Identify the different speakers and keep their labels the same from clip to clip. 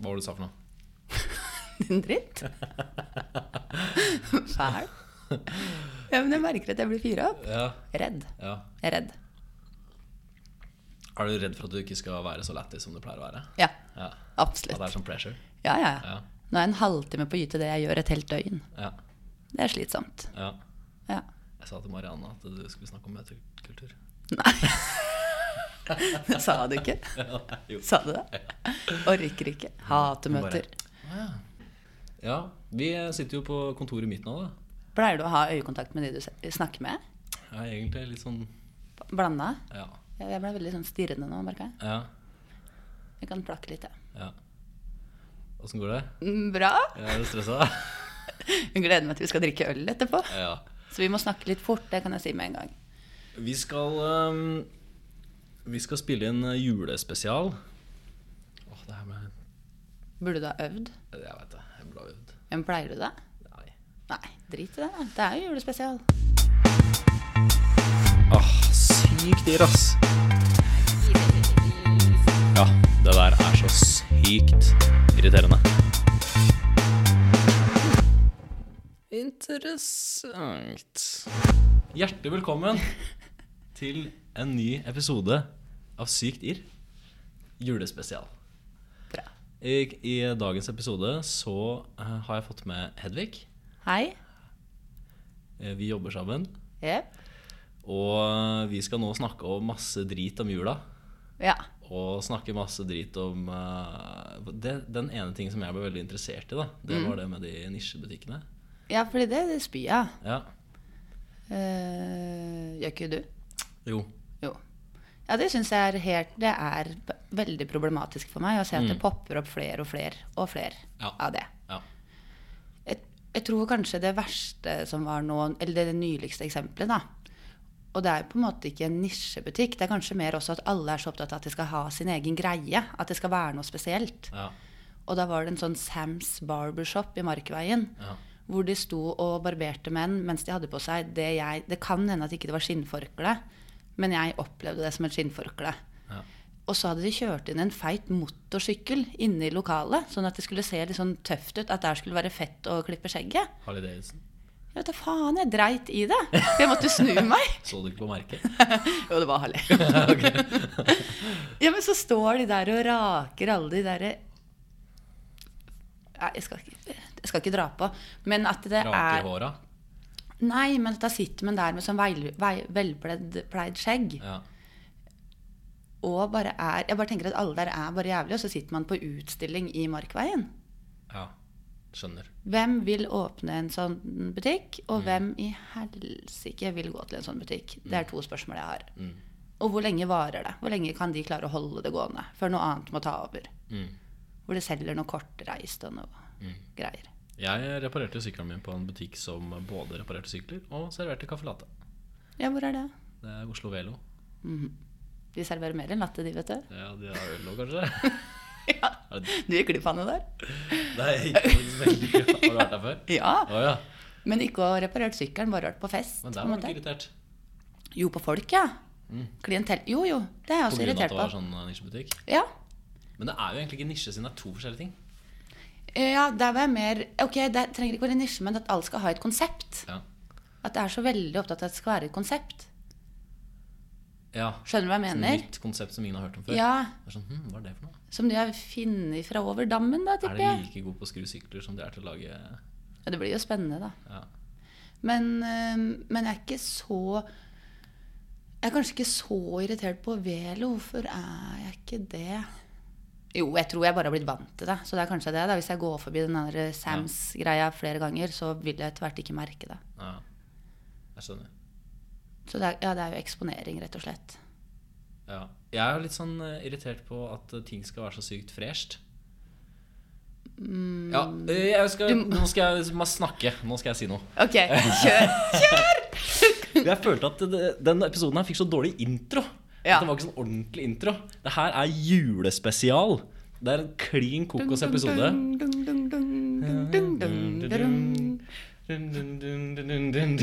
Speaker 1: Hva var det du sa for noe?
Speaker 2: Din dritt. Fæl. Ja, men jeg merker at jeg blir fyra opp.
Speaker 1: Ja,
Speaker 2: Redd.
Speaker 1: ja.
Speaker 2: Jeg er redd.
Speaker 1: Er du redd for at du ikke skal være så lættis som du pleier å være?
Speaker 2: Ja,
Speaker 1: Ja. At det
Speaker 2: absolutt.
Speaker 1: er sånn pressure?
Speaker 2: Ja, ja. ja.
Speaker 1: Ja.
Speaker 2: Nå er jeg en halvtime på å gyte det jeg gjør et helt døgn.
Speaker 1: ja,
Speaker 2: Det er slitsomt.
Speaker 1: ja.
Speaker 2: Ja.
Speaker 1: Jeg sa til Marianne at du skulle snakke om møtekultur.
Speaker 2: Sa du ikke?
Speaker 1: Jo.
Speaker 2: Sa du det? Orker ikke. Hater møter.
Speaker 1: Å, ja. ja, vi sitter jo på kontoret mitt nå, da.
Speaker 2: Pleier du å ha øyekontakt med de du s- snakker med?
Speaker 1: Jeg er egentlig litt sånn
Speaker 2: Blanda?
Speaker 1: Ja.
Speaker 2: Jeg jeg ble veldig sånn stirrende nå, merka jeg.
Speaker 1: Ja.
Speaker 2: Jeg kan plakke litt, jeg.
Speaker 1: ja. Åssen går det?
Speaker 2: Mm, Bra.
Speaker 1: Er du stressa?
Speaker 2: Jeg gleder meg til vi skal drikke øl etterpå.
Speaker 1: Ja.
Speaker 2: Så vi må snakke litt fort, det kan jeg si med en gang.
Speaker 1: Vi skal ehm, Vi skal spille inn eh, julespesial. Åh, det her ble
Speaker 2: Burde du ha øvd?
Speaker 1: Jeg veit det. Jeg ble ut.
Speaker 2: Men pleier du det?
Speaker 1: Nei.
Speaker 2: Nei, drit i det. da. Det er jo julespesial.
Speaker 1: Åh, sykt dyr, Ah, ass. Ja, det der er så sykt irriterende. Interessant. Hjertelig velkommen til en ny episode av Sykt irr julespesial.
Speaker 2: Bra.
Speaker 1: I, I dagens episode så eh, har jeg fått med Hedvig.
Speaker 2: Hei.
Speaker 1: Eh, Vi jobber sammen.
Speaker 2: Jep.
Speaker 1: Og eh, vi skal nå snakke om masse drit om jula.
Speaker 2: Ja.
Speaker 1: og snakke masse drit om eh, det, Den ene ting som jeg ble veldig interessert i, da, det var det med de nisjebutikkene.
Speaker 2: ja, fordi det, det spyr jeg av.
Speaker 1: Ja.
Speaker 2: Eh, Gjør ikke du?
Speaker 1: Jo.
Speaker 2: Jo. Ja, det syns jeg er helt Det er b- veldig problematisk for meg å se at det popper opp flere og flere og flere
Speaker 1: Ja.
Speaker 2: av det.
Speaker 1: Ja.
Speaker 2: Jeg, jeg tror kanskje det verste som var nå, eller det, det nyligste eksempelet, da. Og det er på en måte ikke en nisjebutikk. Det er kanskje mer også at alle er så opptatt av at de skal ha sin egen greie. At det skal være noe spesielt.
Speaker 1: Ja.
Speaker 2: Og da var det en sånn Sams barbershop i Markveien.
Speaker 1: Ja.
Speaker 2: Hvor de sto og barberte menn mens de hadde på seg det jeg Det kan hende at ikke det var skinnforkle, men jeg opplevde det som et skinnforkle.
Speaker 1: Ja.
Speaker 2: Og så hadde de kjørt inn en feit motorsykkel inne i lokalet, sånn at det skulle se litt sånn tøft ut, at der skulle være fett å klippe skjegget.
Speaker 1: Harley Davidson.
Speaker 2: Jeg vet da faen, jeg dreit i det. For jeg måtte snu meg.
Speaker 1: Så du ikke på merket?
Speaker 2: Jo, det var Harley. ja, men så står de der og raker alle de derre Nei, jeg skal, ikke, jeg skal ikke dra på. Men at det
Speaker 1: Raker
Speaker 2: er
Speaker 1: håra?
Speaker 2: Nei, men at da sitter man der med sånn veil- vei- velpleid pleid skjegg
Speaker 1: Ja.
Speaker 2: og bare er Jeg bare tenker at alle der er bare jævlige, og så sitter man på utstilling i Markveien.
Speaker 1: ja. Skjønner.
Speaker 2: Hvem vil åpne en sånn butikk, og hvem i helsike vil gå til en sånn butikk? Det er to spørsmål jeg har.
Speaker 1: Mm,
Speaker 2: Og hvor lenge varer det? Hvor lenge kan de klare å holde det gående før noe annet må ta over?
Speaker 1: Mm.
Speaker 2: Hvor de selger noe kortreist og noe greier.
Speaker 1: Jeg reparerte sykkelen min på en butikk som både reparerte sykler og serverte caffè latte.
Speaker 2: Ja, hvor er det?
Speaker 1: Det er Oslo Velo.
Speaker 2: Mhm. De serverer mer enn latte, de, vet du.
Speaker 1: Ja, de har øl òg, kanskje?
Speaker 2: Ja. Du gikk glipp av noe der?
Speaker 1: Nei, ikke faktisk veldig. Har du vært der før?
Speaker 2: Ja.
Speaker 1: Å ja.
Speaker 2: Men ikke å reparert sykkelen, bare vært på fest.
Speaker 1: Men
Speaker 2: på
Speaker 1: der
Speaker 2: en
Speaker 1: var du
Speaker 2: måte.
Speaker 1: ikke irritert.
Speaker 2: Jo, på folk, ja. Klientell Jo, jo. Det er
Speaker 1: På
Speaker 2: jeg
Speaker 1: grunn av at
Speaker 2: også irritert
Speaker 1: det var
Speaker 2: på.
Speaker 1: sånn eh, nisjebutikk.
Speaker 2: Ja.
Speaker 1: Men det er jo egentlig ikke nisje, siden det er to forskjellige ting.
Speaker 2: ja, der var jeg mer Ok, det trenger ikke være nisje, men at alle skal ha et konsept.
Speaker 1: Ja.
Speaker 2: At jeg er så veldig opptatt av at det skal være et konsept.
Speaker 1: ja.
Speaker 2: Skjønner du hva jeg
Speaker 1: Sånn
Speaker 2: mener?
Speaker 1: nytt konsept som ingen har hørt om før.
Speaker 2: Ja,
Speaker 1: Det er sånn, hm, hva er det for noe?
Speaker 2: Som de har funnet fra over dammen, da,
Speaker 1: Er
Speaker 2: tipper
Speaker 1: de
Speaker 2: jeg.
Speaker 1: like gode på å skru sykler som de er til å lage
Speaker 2: Ja, det blir jo spennende, da.
Speaker 1: ja.
Speaker 2: Men, øhm, men jeg er ikke så Jeg er kanskje ikke så irritert på Velo. Hvorfor er jeg ikke det? Jo, jeg tror jeg bare har blitt vant til det. Så det er kanskje det. da Hvis jeg går forbi den der eh, Sams-greia flere ganger, så vil jeg etter hvert ikke merke det.
Speaker 1: ja. Jeg skjønner.
Speaker 2: Så det er, ja, det er jo eksponering, rett og slett.
Speaker 1: Ja. Jeg er jo litt sånn eh, irritert på at eh, ting skal være så sykt fresht.
Speaker 2: Mm.
Speaker 1: Ja, eh, jeg skal, nå skal jeg ma- snakke. Nå skal jeg si noe.
Speaker 2: OK, kjør! Kjør!
Speaker 1: Jeg følte at eh, det, den episoden her fikk så dårlig intro.
Speaker 2: Ja.
Speaker 1: At det var ikke sånn ordentlig intro. Det her er julespesial. Det er en klin kokos episode.
Speaker 2: Dun, dun, dun, dun, dun, dun, dun, dun.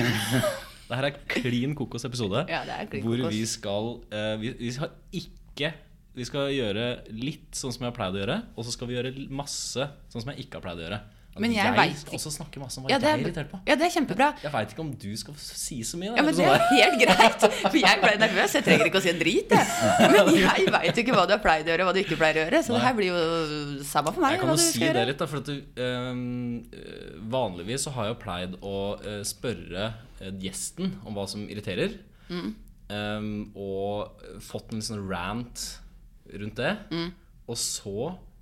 Speaker 1: Det her er klin kokos episode.
Speaker 2: Ja, det er klin
Speaker 1: hvor
Speaker 2: kokos.
Speaker 1: vi skal eh, vi, vi har ikke Vi skal gjøre litt sånn som jeg har pleid å gjøre, og så skal vi gjøre masse sånn som jeg ikke har pleid å gjøre. At
Speaker 2: Men jeg
Speaker 1: jeg
Speaker 2: vet
Speaker 1: skal også snakke masse om hva
Speaker 2: Ja, det
Speaker 1: jeg er
Speaker 2: er,
Speaker 1: irritert på.
Speaker 2: ja, det er kjempebra.
Speaker 1: Jeg veit ikke om du skal si så mye. da.
Speaker 2: Ja, men
Speaker 1: Eller
Speaker 2: det
Speaker 1: sånn
Speaker 2: er
Speaker 1: der.
Speaker 2: helt greit, for jeg ble nervøs. Jeg trenger ikke å si en drit, jeg. Men jeg veit jo ikke hva du har pleid å gjøre, og hva du ikke pleier å gjøre. Så det her blir jo samme for meg.
Speaker 1: Jeg kan
Speaker 2: hva
Speaker 1: jo
Speaker 2: du
Speaker 1: si
Speaker 2: skal
Speaker 1: det
Speaker 2: gjøre.
Speaker 1: litt, da, for at du, ehm, eh, vanligvis så har jeg jo pleid å eh, spørre eh, gjesten om hva som irriterer.
Speaker 2: Mm.
Speaker 1: Ehm, og fått en sånn rant rundt det.
Speaker 2: Mm.
Speaker 1: Og så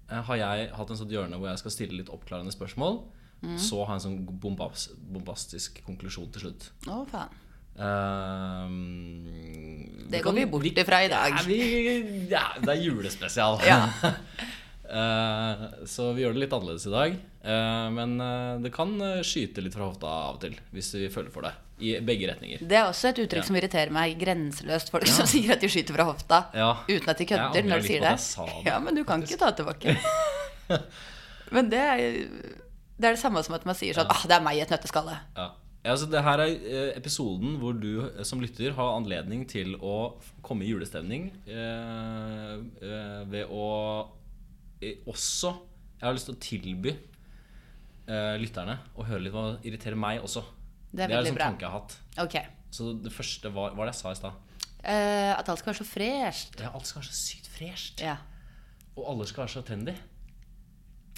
Speaker 1: eh, har jeg hatt en sånn hjørne hvor jeg skal stille litt oppklarende spørsmål.
Speaker 2: Mm.
Speaker 1: Så har jeg en sånn bombas, bombastisk konklusjon til slutt.
Speaker 2: Å, faen.
Speaker 1: Ehm,
Speaker 2: Det
Speaker 1: kan-
Speaker 2: går vi bort ifra i dag.
Speaker 1: ja, vi, ja, det er julespesial.
Speaker 2: Ja.
Speaker 1: Eh, så vi gjør det litt annerledes i dag. Eh, men eh, det kan eh, skyte litt fra hofta av og til, hvis vi føler for det. I begge retninger.
Speaker 2: Det er også et uttrykk som irriterer meg grenseløst. Folk som sier at de skyter fra hofta
Speaker 1: Ja.
Speaker 2: uten at de
Speaker 1: Jeg
Speaker 2: kødder
Speaker 1: angrer
Speaker 2: når de
Speaker 1: litt
Speaker 2: sier
Speaker 1: på at
Speaker 2: det.
Speaker 1: jeg sa det,
Speaker 2: Ja, men du kan ikke ta det tilbake. Men det er, det er det samme som at man sier sånn ah, det er meg i et nøtteskalle.
Speaker 1: Ja. Ja, altså, det her er eh, episoden hvor du eh, som lytter har anledning til å f- komme i julestemning eh, eh, ved å eh, også Jeg har lyst til å tilby eh, lytterne å høre litt hva irriterer meg også.
Speaker 2: Det er
Speaker 1: det er
Speaker 2: veldig
Speaker 1: en sånn
Speaker 2: bra.
Speaker 1: tanke jeg har hatt.
Speaker 2: Ok.
Speaker 1: Så det første var Hva var det jeg sa i stad?
Speaker 2: Eh, at alt skal være så fresht.
Speaker 1: Ja, alt skal være så sykt fresht.
Speaker 2: Ja.
Speaker 1: Og alle skal være så trendy.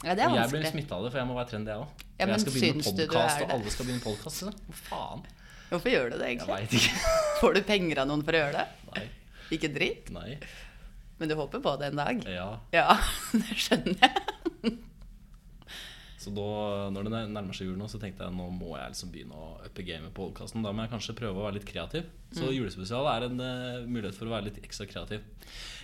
Speaker 2: ja, det er
Speaker 1: Og jeg blir
Speaker 2: vanskelig.
Speaker 1: smitta av det, for jeg må være trendy, jeg òg.
Speaker 2: Ja, men
Speaker 1: jeg skal begynne
Speaker 2: syns
Speaker 1: med
Speaker 2: du du
Speaker 1: podkast,
Speaker 2: er
Speaker 1: og
Speaker 2: det?
Speaker 1: alle skal begynne med podkast. Hva faen?
Speaker 2: Hvorfor gjør du det
Speaker 1: Jeg
Speaker 2: egentlig?
Speaker 1: veit ikke.
Speaker 2: Får du penger av noen for å gjøre det?
Speaker 1: Nei.
Speaker 2: Ikke dritt,
Speaker 1: Nei.
Speaker 2: men du håper på det en dag.
Speaker 1: Ja.
Speaker 2: Ja, det skjønner jeg.
Speaker 1: Så da, når det nærmer seg jul nå, så tenkte jeg nå må jeg liksom begynne å uppe gamet på podkasten. Da må jeg kanskje prøve å være litt kreativ.
Speaker 2: Mm.
Speaker 1: Så julespesial er en eh, mulighet for å være litt ekstra kreativ.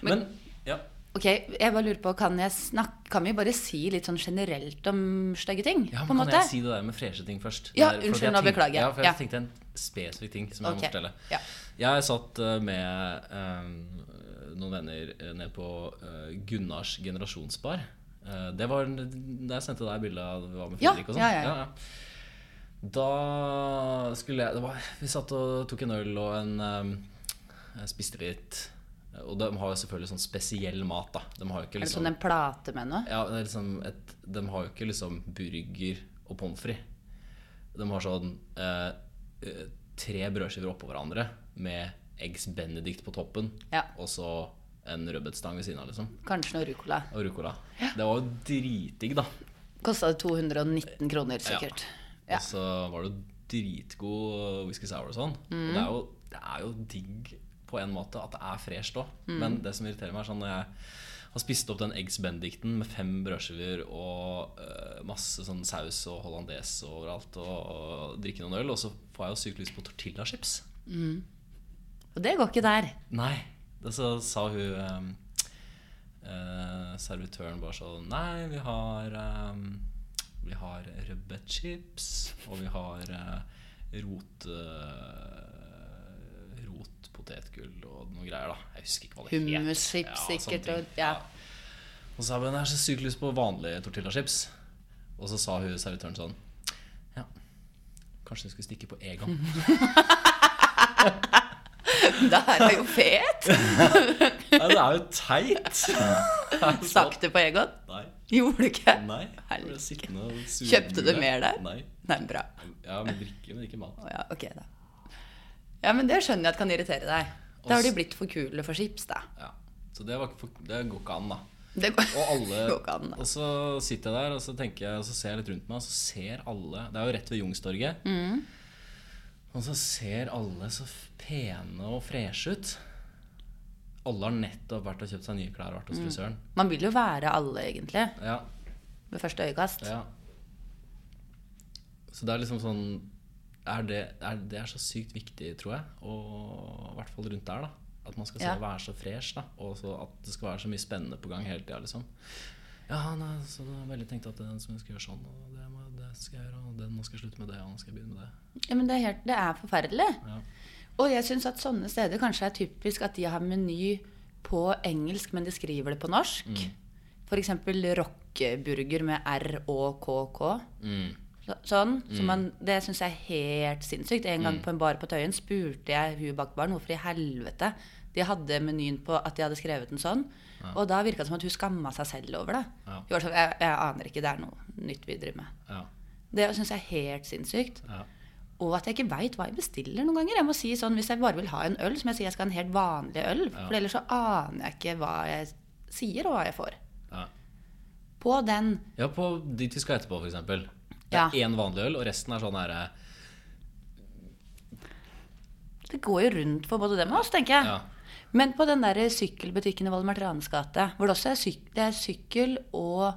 Speaker 1: Men, ja.
Speaker 2: Ok, jeg bare lurer på, kan, jeg snakke, kan vi bare si litt sånn generelt om stygge ting?
Speaker 1: ja,
Speaker 2: på en
Speaker 1: men
Speaker 2: måte?
Speaker 1: Kan jeg si det der med freshe ting først?
Speaker 2: Ja,
Speaker 1: Det er- for
Speaker 2: unnskyld,
Speaker 1: jeg
Speaker 2: nå
Speaker 1: tenkte-
Speaker 2: beklager jeg.
Speaker 1: Ja, for jeg
Speaker 2: Ja.
Speaker 1: tenkte en spesifikk ting som jeg
Speaker 2: Ok,
Speaker 1: må fortelle.
Speaker 2: ja.
Speaker 1: Jeg satt eh, med eh, noen venner eh, ned på eh, Gunnars generasjonsbar. Eh, det var en- da jeg sendte deg bilde av vi var med
Speaker 2: Ja,
Speaker 1: Fredrik og sånn.
Speaker 2: ja, ja, ja.
Speaker 1: Da skulle jeg det var, Vi satt og tok en øl og en eh, jeg spiste litt. Og de har jo selvfølgelig sånn spesiell mat, da. De har jo ikke
Speaker 2: Er det
Speaker 1: liksom
Speaker 2: sånn en plate med noe?
Speaker 1: ja, det er liksom et, De har jo ikke liksom burger og pommes frites. De har sånn eh, eh, tre brødskiver oppå hverandre med eggs benedict på toppen.
Speaker 2: Ja.
Speaker 1: Og så en rødbetstang ved siden av, liksom.
Speaker 2: Kanskje noe rucola.
Speaker 1: Og ruccola. Det var jo dritdigg, da.
Speaker 2: Kosta det 219 kroner, sikkert. Ja.
Speaker 1: Og så var det jo dritgod whisky sour og sånn. Og det er, jo, det er jo digg på en måte at det er fresht òg. Men det som irriterer meg, er sånn når jeg har spist opp den eggs benedicten med fem brødskiver og eh, masse sånn saus og hollandaise overalt, og, og drikke noen øl, og så får jeg jo sykt lyst på tortillachips.
Speaker 2: Mm. Og det går ikke der.
Speaker 1: Nei. Og så sa hun ehm, eh, servitøren bare sånn Nei, vi har ehm, Vi har rødbetchips, og vi har eh, rot eh, Rotpotetgull og noe greier, da. Jeg husker ikke hva det het.
Speaker 2: Hummuschips,
Speaker 1: Ja, sånne
Speaker 2: sikkert.
Speaker 1: ting.
Speaker 2: Og, ja.
Speaker 1: Og så sa jeg «Men jeg har så sykt lyst på vanlige tortillachips. Og så sa hun servitøren sånn Ja, kanskje du skulle stikke på Egon.
Speaker 2: Det her er jo fet!
Speaker 1: Nei, det er jo teit!
Speaker 2: Sakte på Egon.
Speaker 1: sånn. Nei.
Speaker 2: Gjorde du ikke?
Speaker 1: Nei.
Speaker 2: Helvike.
Speaker 1: ble sittende og sure
Speaker 2: Kjøpte du
Speaker 1: mule.
Speaker 2: mer der?
Speaker 1: Nei.
Speaker 2: Nei, bra.
Speaker 1: Ja, men drikke, men ikke mat.
Speaker 2: Å Ja, ok da. Ja, men det skjønner jeg at kan irritere deg. Da har de blitt for kule for chips, da.
Speaker 1: Ja. Så det, var, ikke for- det går ikke an, da.
Speaker 2: Det går,
Speaker 1: Og alle
Speaker 2: går ikke an. da.
Speaker 1: Og så sitter jeg der, og så tenker jeg, og så ser jeg litt rundt meg, og så ser alle Det er jo rett ved Youngstorget.
Speaker 2: Mm.
Speaker 1: Og så ser alle så f- pene og freshe ut. Alle har nettopp vært og kjøpt seg nye klær og vært
Speaker 2: Mm.
Speaker 1: hos frisøren.
Speaker 2: Man vil jo være alle, egentlig,
Speaker 1: Ja,
Speaker 2: ved første øyekast.
Speaker 1: ja. Så det er liksom sånn er det, er, det er så sykt viktig, tror jeg. Og i hvert fall rundt der, da. At man skal se
Speaker 2: Ja.
Speaker 1: å være så fresh, da. Og så at det skal være så mye spennende på gang hele tida, liksom. Ja, nei, så jeg har veldig tenkt at den som skal gjøre sånn, og det, må, det skal jeg gjøre, og det, nå skal jeg slutte med det, og nå skal jeg begynne med det.
Speaker 2: Ja, men det er, helt, det er forferdelig.
Speaker 1: Ja.
Speaker 2: Og jeg syns at sånne steder kanskje er typisk at de har meny på engelsk, men de skriver det på norsk.
Speaker 1: Mm.
Speaker 2: For F.eks. rockeburger med R og KK.
Speaker 1: Mm.
Speaker 2: Så- Sånn. Så man, det
Speaker 1: Mm.
Speaker 2: syns jeg er helt sinnssykt. En gang på en bar på Tøyen spurte jeg hun bak baren hvorfor i helvete de hadde menyen på at de hadde skrevet den sånn. Og da virka det som at hun skamma seg selv over det.
Speaker 1: Ja.
Speaker 2: Hun var sånn, jeg, jeg aner ikke, det er noe nytt vi driver med.
Speaker 1: Ja.
Speaker 2: Det syns jeg er helt sinnssykt.
Speaker 1: Ja.
Speaker 2: Og at jeg ikke veit hva jeg bestiller noen ganger. Jeg må si sånn, Hvis jeg bare vil ha en øl, så må jeg si jeg skal ha en helt vanlig øl. For ellers så aner jeg ikke hva jeg sier, og hva jeg får.
Speaker 1: Ja.
Speaker 2: På den
Speaker 1: Ja, på dit vi skal etterpå, f.eks. Det
Speaker 2: Ja.
Speaker 1: er én vanlig øl, og resten er sånn herre
Speaker 2: Det går jo rundt for både dem og oss, tenker jeg.
Speaker 1: Ja.
Speaker 2: Men på den der sykkelbutikken i Valdemar Tranes gate, hvor det også er, syk det er sykkel og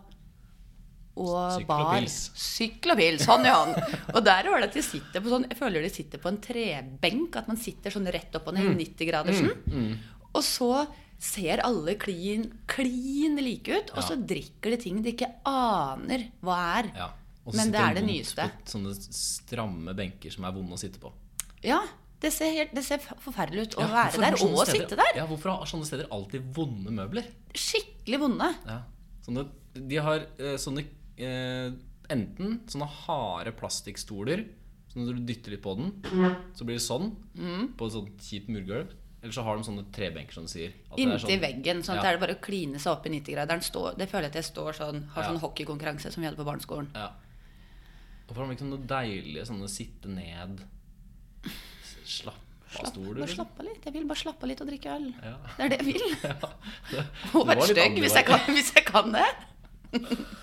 Speaker 2: og
Speaker 1: Sykkel og
Speaker 2: bar.
Speaker 1: pils.
Speaker 2: Sykkel og pils. Hånd i hånd. Og der var det at de sitter på sånn Jeg føler de sitter på en trebenk. At man sitter sånn rett opp og ned i
Speaker 1: Mm.
Speaker 2: 90-gradersen. Og så ser alle klin, klin like ut, og så drikker de ting de ikke aner hva er.
Speaker 1: Ja. Og så
Speaker 2: Men det
Speaker 1: sitter
Speaker 2: er det
Speaker 1: vondt
Speaker 2: nyeste.
Speaker 1: På sånne stramme benker som er vonde å sitte på.
Speaker 2: Ja, det ser, helt, det ser forferdelig ut å
Speaker 1: Ja,
Speaker 2: være
Speaker 1: hvorfor har
Speaker 2: der
Speaker 1: sånne
Speaker 2: og å
Speaker 1: steder-
Speaker 2: sitte der.
Speaker 1: sånn Ja, Hvorfor har sånne steder alltid vonde møbler?
Speaker 2: Skikkelig vonde.
Speaker 1: Ja. Sånne, de har eh, sånne eh, enten sånne harde plastikkstoler, så når du dytter litt på den, så blir det sånn
Speaker 2: Mm.
Speaker 1: på et sånt kjipt murgulv. Eller så har de sånne trebenker, som du sier. At det er
Speaker 2: Inntil
Speaker 1: sånn-
Speaker 2: veggen. Sånn at
Speaker 1: Ja.
Speaker 2: det er bare å kline seg opp i 90-graderen. stå- Det føler jeg at jeg står sånn, har sånn hockeykonkurranse som vi hadde på barneskolen.
Speaker 1: Ja. Hvorfor har de ikke noe deilig sånne sitte ned Slapp av
Speaker 2: Slapp,
Speaker 1: stoler? liksom?
Speaker 2: bare slapp av litt. Jeg vil bare slappe av litt og drikke øl.
Speaker 1: Ja.
Speaker 2: Det er det jeg vil.
Speaker 1: Ja. Det, det
Speaker 2: Og
Speaker 1: var
Speaker 2: være
Speaker 1: litt
Speaker 2: stygg hvis, jeg
Speaker 1: ambivalent.
Speaker 2: kan- hvis jeg kan det.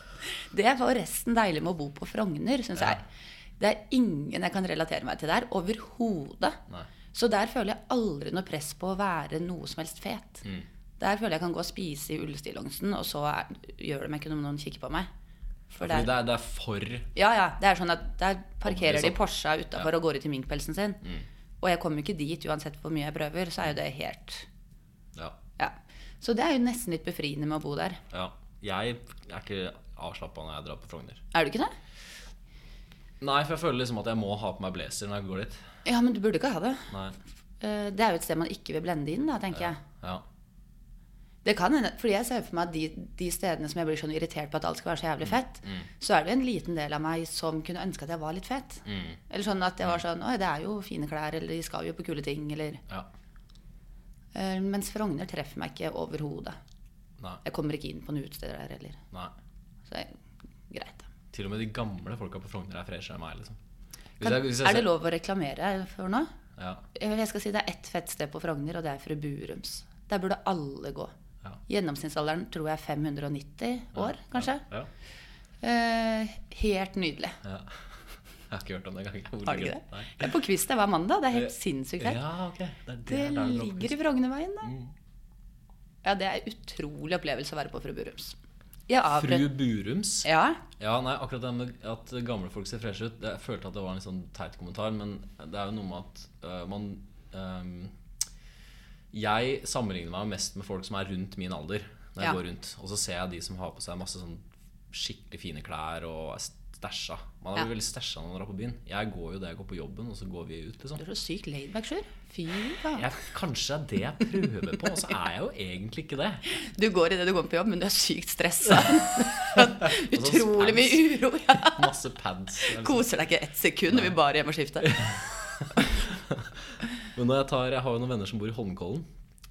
Speaker 2: Det var resten deilig med å bo på Frogner, syns
Speaker 1: Ja.
Speaker 2: jeg. Det er ingen jeg kan relatere meg til der. Overhodet.
Speaker 1: Nei.
Speaker 2: Så der føler jeg aldri noe press på å være noe som helst fet.
Speaker 1: Mm.
Speaker 2: Der føler jeg kan gå og spise i ullstillongsen, og så er, gjør det meg ikke noe om noen kikker på meg. For
Speaker 1: Fordi
Speaker 2: der-
Speaker 1: det, er, det er for
Speaker 2: Ja, ja. Det er sånn at der parkerer
Speaker 1: Obvious,
Speaker 2: de Porscha utafor og går ut i minkpelsen sin. Og jeg kommer jo ikke dit uansett hvor mye jeg prøver, så er jo det helt
Speaker 1: ja,
Speaker 2: Ja. Så det er jo nesten litt befriende med å bo der.
Speaker 1: ja. Jeg er ikke avslappa når jeg drar på Frogner.
Speaker 2: Er du ikke det?
Speaker 1: Nei, for jeg føler liksom at jeg må ha på meg blazer når jeg går dit.
Speaker 2: Ja, men du burde ikke ha det.
Speaker 1: Nei.
Speaker 2: Eh, Det er jo et sted man ikke vil blende inn, da, tenker jeg.
Speaker 1: Ja.
Speaker 2: Det kan hende, fordi jeg ser for meg at de, de stedene som jeg blir sånn irritert på at alt skal være så jævlig fett, så er det en liten del av meg som kunne ønske at jeg var litt fett.
Speaker 1: Mm,
Speaker 2: Eller sånn at jeg var sånn Oi, det er jo fine klær, eller de skal jo på kule ting, eller
Speaker 1: ja.
Speaker 2: Eh, Mens Frogner treffer meg ikke overhodet.
Speaker 1: Nei.
Speaker 2: Jeg kommer ikke inn på noen utesteder der heller.
Speaker 1: Nei.
Speaker 2: Så det er greit.
Speaker 1: Til og med de gamle folka på Frogner er freshere enn meg, liksom. Hvis
Speaker 2: Kan,
Speaker 1: jeg- hvis jeg
Speaker 2: er det
Speaker 1: ser-
Speaker 2: lov å reklamere for noe?
Speaker 1: Ja.
Speaker 2: Jeg skal si det er ett fett sted på Frogner, og det er Fru Burums. Der burde alle gå.
Speaker 1: Ja.
Speaker 2: Gjennomsnittsalderen tror jeg er 590 år, kanskje.
Speaker 1: Ja.
Speaker 2: Eh, helt nydelig.
Speaker 1: ja. Jeg har ikke hørt om det engang. Hvor
Speaker 2: Har du
Speaker 1: ligger
Speaker 2: ikke
Speaker 1: det?
Speaker 2: det?
Speaker 1: Nei.
Speaker 2: Jeg er på quiz der hver mandag. Det er
Speaker 1: Eh,
Speaker 2: helt sinnssykt fett.
Speaker 1: Ja, ok. Det, er
Speaker 2: Det
Speaker 1: der det Mm. er
Speaker 2: ligger i Frognerveien, da. Ja, det er utrolig opplevelse å være på Fru Burums. Jeg
Speaker 1: Fru
Speaker 2: avbrøt
Speaker 1: Burums.
Speaker 2: Ja,
Speaker 1: Ja, nei, akkurat det med at gamle folk ser freshe ut Jeg følte at det var en litt sånn teit kommentar, men det er jo noe med at øh, man øhm, Jeg sammenligner meg mest med folk som er rundt min alder når jeg
Speaker 2: Ja.
Speaker 1: går rundt. Og så ser jeg de som har på seg masse sånn skikkelig fine klær og er stæsja. Man er
Speaker 2: Ja.
Speaker 1: jo veldig stæsja når man drar på byen. Jeg går jo det jeg går på jobben, og så går vi ut, liksom.
Speaker 2: du er så sykt laidback, Sjur. Fy faen.
Speaker 1: Jeg, kanskje det er det jeg prøver på, og så er jeg jo egentlig ikke det.
Speaker 2: Du går idet du går på jobb, men du er sykt stressa.
Speaker 1: Og så
Speaker 2: Utrolig mye
Speaker 1: spams.
Speaker 2: uro. Ja.
Speaker 1: Masse pads.
Speaker 2: Koser deg ikke ett sekund, du vil bare hjem og skifte.
Speaker 1: Men når jeg tar, jeg har jo noen venner som bor i Holmenkollen.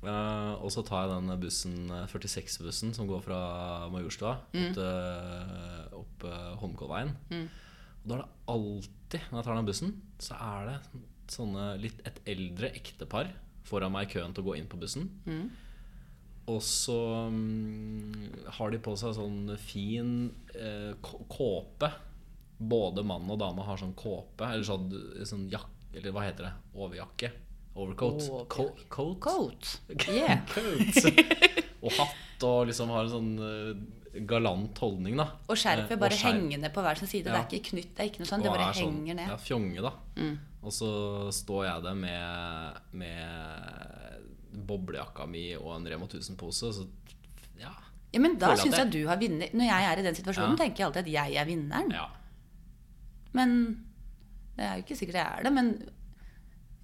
Speaker 1: eh, og så tar jeg den bussen, eh, 46-bussen som går fra Majorstua opp, til- opp eh, Holmenkollveien. Og da er det alltid, når jeg tar den bussen, så er det sånne litt et eldre ektepar foran meg i køen til å gå inn på bussen.
Speaker 2: Mm.
Speaker 1: Og så mm, har de på seg sånn fin eh, k- kåpe. Både mann og dame har sånn kåpe, eller sånn, sånn jakke Eller hva heter det? Overjakke? Overcoat?
Speaker 2: Overjakke.
Speaker 1: Co coat?
Speaker 2: Coat. Yeah.
Speaker 1: Coat. og hatt og liksom har en sånn eh, galant holdning, da.
Speaker 2: Og skjerfet
Speaker 1: Eh,
Speaker 2: bare
Speaker 1: skjerf.
Speaker 2: hengende på hver sin side. Det
Speaker 1: Ja.
Speaker 2: er ikke knytt, det er ikke noe sånt.
Speaker 1: Og
Speaker 2: Det bare
Speaker 1: er sånn,
Speaker 2: henger ned. Mm.
Speaker 1: Ja, fjonge, da. Og så står jeg der med, med boblejakka mi og en Rema 1000-pose, så ja.
Speaker 2: Ja, men da
Speaker 1: Føler at
Speaker 2: syns jeg
Speaker 1: jeg-
Speaker 2: du har vunnet. Når jeg er i den situasjonen,
Speaker 1: Ja.
Speaker 2: tenker jeg alltid at jeg er vinneren.
Speaker 1: ja.
Speaker 2: Men det er jo ikke sikkert jeg er det. Men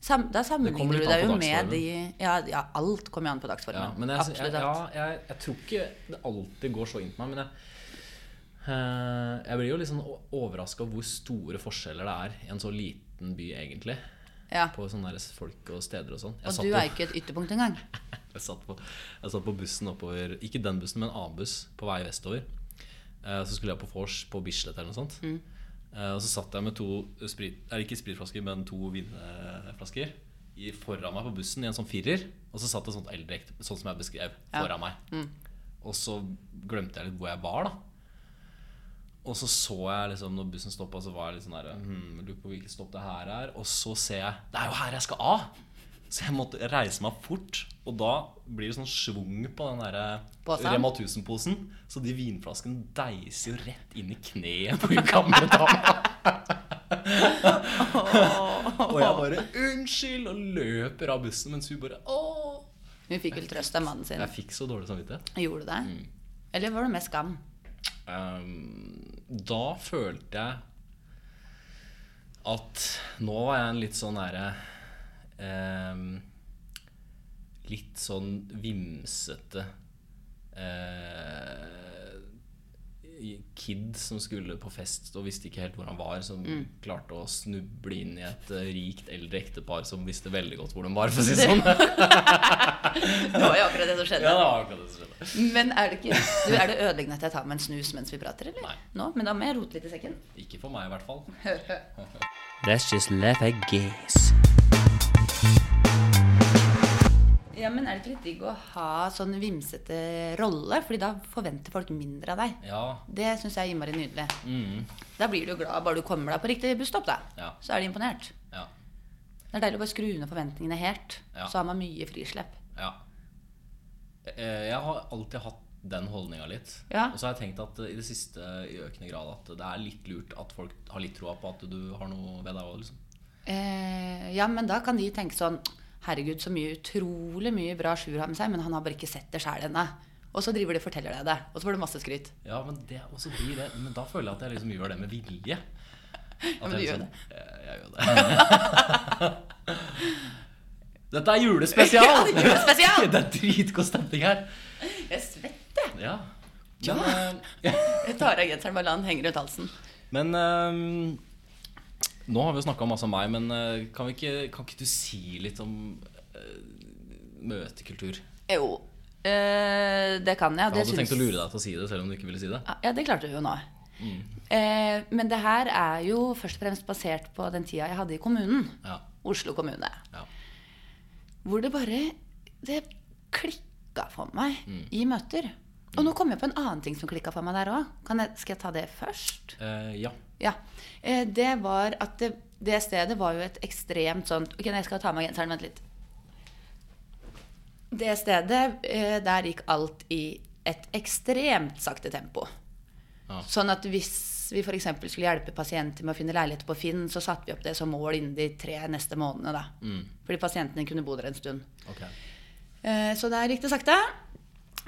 Speaker 2: sam, da
Speaker 1: kommer
Speaker 2: sammenligner
Speaker 1: litt
Speaker 2: du
Speaker 1: an
Speaker 2: deg
Speaker 1: på
Speaker 2: jo med de
Speaker 1: dagsformen.
Speaker 2: ja, ja, alt kommer jo an på dagsformen.
Speaker 1: Ja, men jeg, jeg,
Speaker 2: Mm. Absolutt
Speaker 1: ja,
Speaker 2: alt.
Speaker 1: jeg, jeg tror ikke det alltid går så inn på meg, men jeg, eh, jeg blir jo litt sånn overraska over hvor store forskjeller det er i en så liten by, egentlig.
Speaker 2: Ja.
Speaker 1: på sånne der folk og steder og sånn. Jeg,
Speaker 2: Og
Speaker 1: satt
Speaker 2: du er
Speaker 1: på-
Speaker 2: jo ikke et ytterpunkt engang.
Speaker 1: jeg, satt på- jeg satt på bussen oppover Ikke den bussen, men en annen buss på vei vestover. Eh, Så skulle jeg på vors på Bislett eller noe sånt. Eh, Og så satt jeg med to sprit, eller ikke spritflasker, men to vinflasker i- foran meg på bussen i en sånn firer. Og så satt det et sånt eldre ekte, sånn som jeg beskrev,
Speaker 2: Ja.
Speaker 1: foran meg. Og så glemte jeg litt hvor jeg var, da. Og så så jeg liksom når bussen stoppa, så var jeg litt sånn der hmm, Lurer på hvilket stopp det her er. Og så ser jeg Det er jo her jeg skal av! Så jeg måtte reise meg fort. Og da blir det sånn schwung på den der
Speaker 2: Påsen?
Speaker 1: Rema 1000-posen. Så de vinflaskene deiser jo rett inn i kneet på hun gamle dama. og jeg bare 'unnskyld' og løper av bussen, mens hun bare 'åh'.
Speaker 2: Hun fikk vel trøst av mannen sin.
Speaker 1: Jeg fikk så dårlig samvittighet.
Speaker 2: Gjorde du det?
Speaker 1: Mm.
Speaker 2: Eller var det mer skam?
Speaker 1: Ehm, da følte jeg at nå var jeg en litt sånn derre ehm, Litt sånn vimsete eh, kid som skulle på fest og visste ikke helt hvor han var, som klarte å snuble inn i et eh, rikt eldre ektepar som visste veldig godt hvor de var, for å si det sånn.
Speaker 2: Det var jo akkurat det som skjedde.
Speaker 1: Ja, det var akkurat det som skjedde.
Speaker 2: Men er det, ikke, du, er det ødeleggende at jeg tar meg en snus mens vi prater, eller?
Speaker 1: Nei.
Speaker 2: Nå? Men da må jeg rote litt i sekken.
Speaker 1: Ikke for meg, i hvert fall.
Speaker 3: Let's just laugh at gays.
Speaker 2: Ja, men er det ikke litt digg å ha sånn vimsete rolle? Fordi da forventer folk mindre av deg.
Speaker 1: Ja,
Speaker 2: Det syns jeg er innmari nydelig.
Speaker 1: Mm.
Speaker 2: Da blir du jo glad bare du kommer deg på riktig busstopp, da.
Speaker 1: Ja.
Speaker 2: Så er de imponert.
Speaker 1: ja,
Speaker 2: Det er deilig å bare skru unna forventningene helt.
Speaker 1: Ja.
Speaker 2: Så har man mye frislepp.
Speaker 1: Ja. Eh, Jeg har alltid hatt den holdninga litt.
Speaker 2: Ja.
Speaker 1: Og så har jeg tenkt at eh, i det siste i økende grad at det er litt lurt at folk har litt troa på at du har noe ved deg òg, liksom.
Speaker 2: Eh, ja, men da kan de tenke sånn Herregud, så mye utrolig mye bra Sjur har med seg, men han har bare ikke sett det sjæl ennå. Og så driver de og forteller deg det, og så får du masse skryt.
Speaker 1: Ja, men det og så blir det Men da føler jeg at jeg liksom gjør det med vilje. At
Speaker 2: men du
Speaker 1: jeg
Speaker 2: gjør
Speaker 1: liksom- Eh, Jeg gjør det. Dette er julespesial!
Speaker 2: Ja, det er julespesial!
Speaker 1: det er dritgod stemning her.
Speaker 2: Jeg svetter!
Speaker 1: Ja. Men, eh,
Speaker 2: Jeg tar av genseren, bare la den henge rundt halsen.
Speaker 1: Men ehm, Nå har vi jo snakka masse om meg, men eh, kan, vi ikke, kan ikke du si litt om eh, møtekultur?
Speaker 2: Jo, eh, det kan jeg.
Speaker 1: Jeg
Speaker 2: og det
Speaker 1: hadde tenkt å
Speaker 2: syns-
Speaker 1: lure deg Mm. til å si det, selv om du ikke ville si det.
Speaker 2: Ja, det klarte vi jo nå. Eh, men det her er jo først og fremst basert på den tida jeg hadde i kommunen.
Speaker 1: Ja,
Speaker 2: Oslo kommune.
Speaker 1: ja,
Speaker 2: Hvor det bare Det klikka for meg
Speaker 1: Mm.
Speaker 2: i møter. Og nå kom jeg på en annen ting som klikka for meg der òg. Skal jeg ta det først?
Speaker 1: Eh, ja.
Speaker 2: Ja. Eh, Det var at det, det stedet var jo et ekstremt sånt Ok, jeg skal ta av meg genseren. Vent litt. Det stedet, eh, der gikk alt i et ekstremt sakte tempo.
Speaker 1: Ja.
Speaker 2: Sånn at hvis vi f.eks. skulle hjelpe pasienter med å finne leiligheter på Finn, så satte vi opp det som mål innen de tre neste månedene, da. Fordi pasientene kunne bo der en stund.
Speaker 1: Ok.
Speaker 2: Eh, Så der gikk det sakte.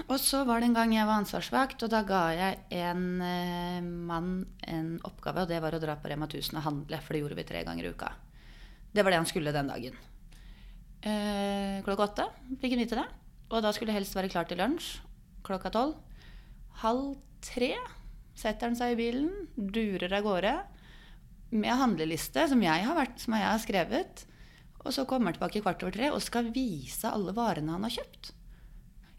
Speaker 2: Og så var det en gang jeg var ansvarsvakt, og da ga jeg en eh, mann en oppgave, og det var å dra på Rema 1000 og handle, for det gjorde vi tre ganger i uka. Det var det han skulle den dagen. Eh, klokka åtte fikk han vite det, og da skulle det helst være klart til lunsj klokka tolv. Halv tre setter han seg i bilen, durer av gårde med handleliste som jeg har, vært, som jeg har skrevet. Og så kommer han tilbake kvart over tre og skal vise alle varene han har kjøpt.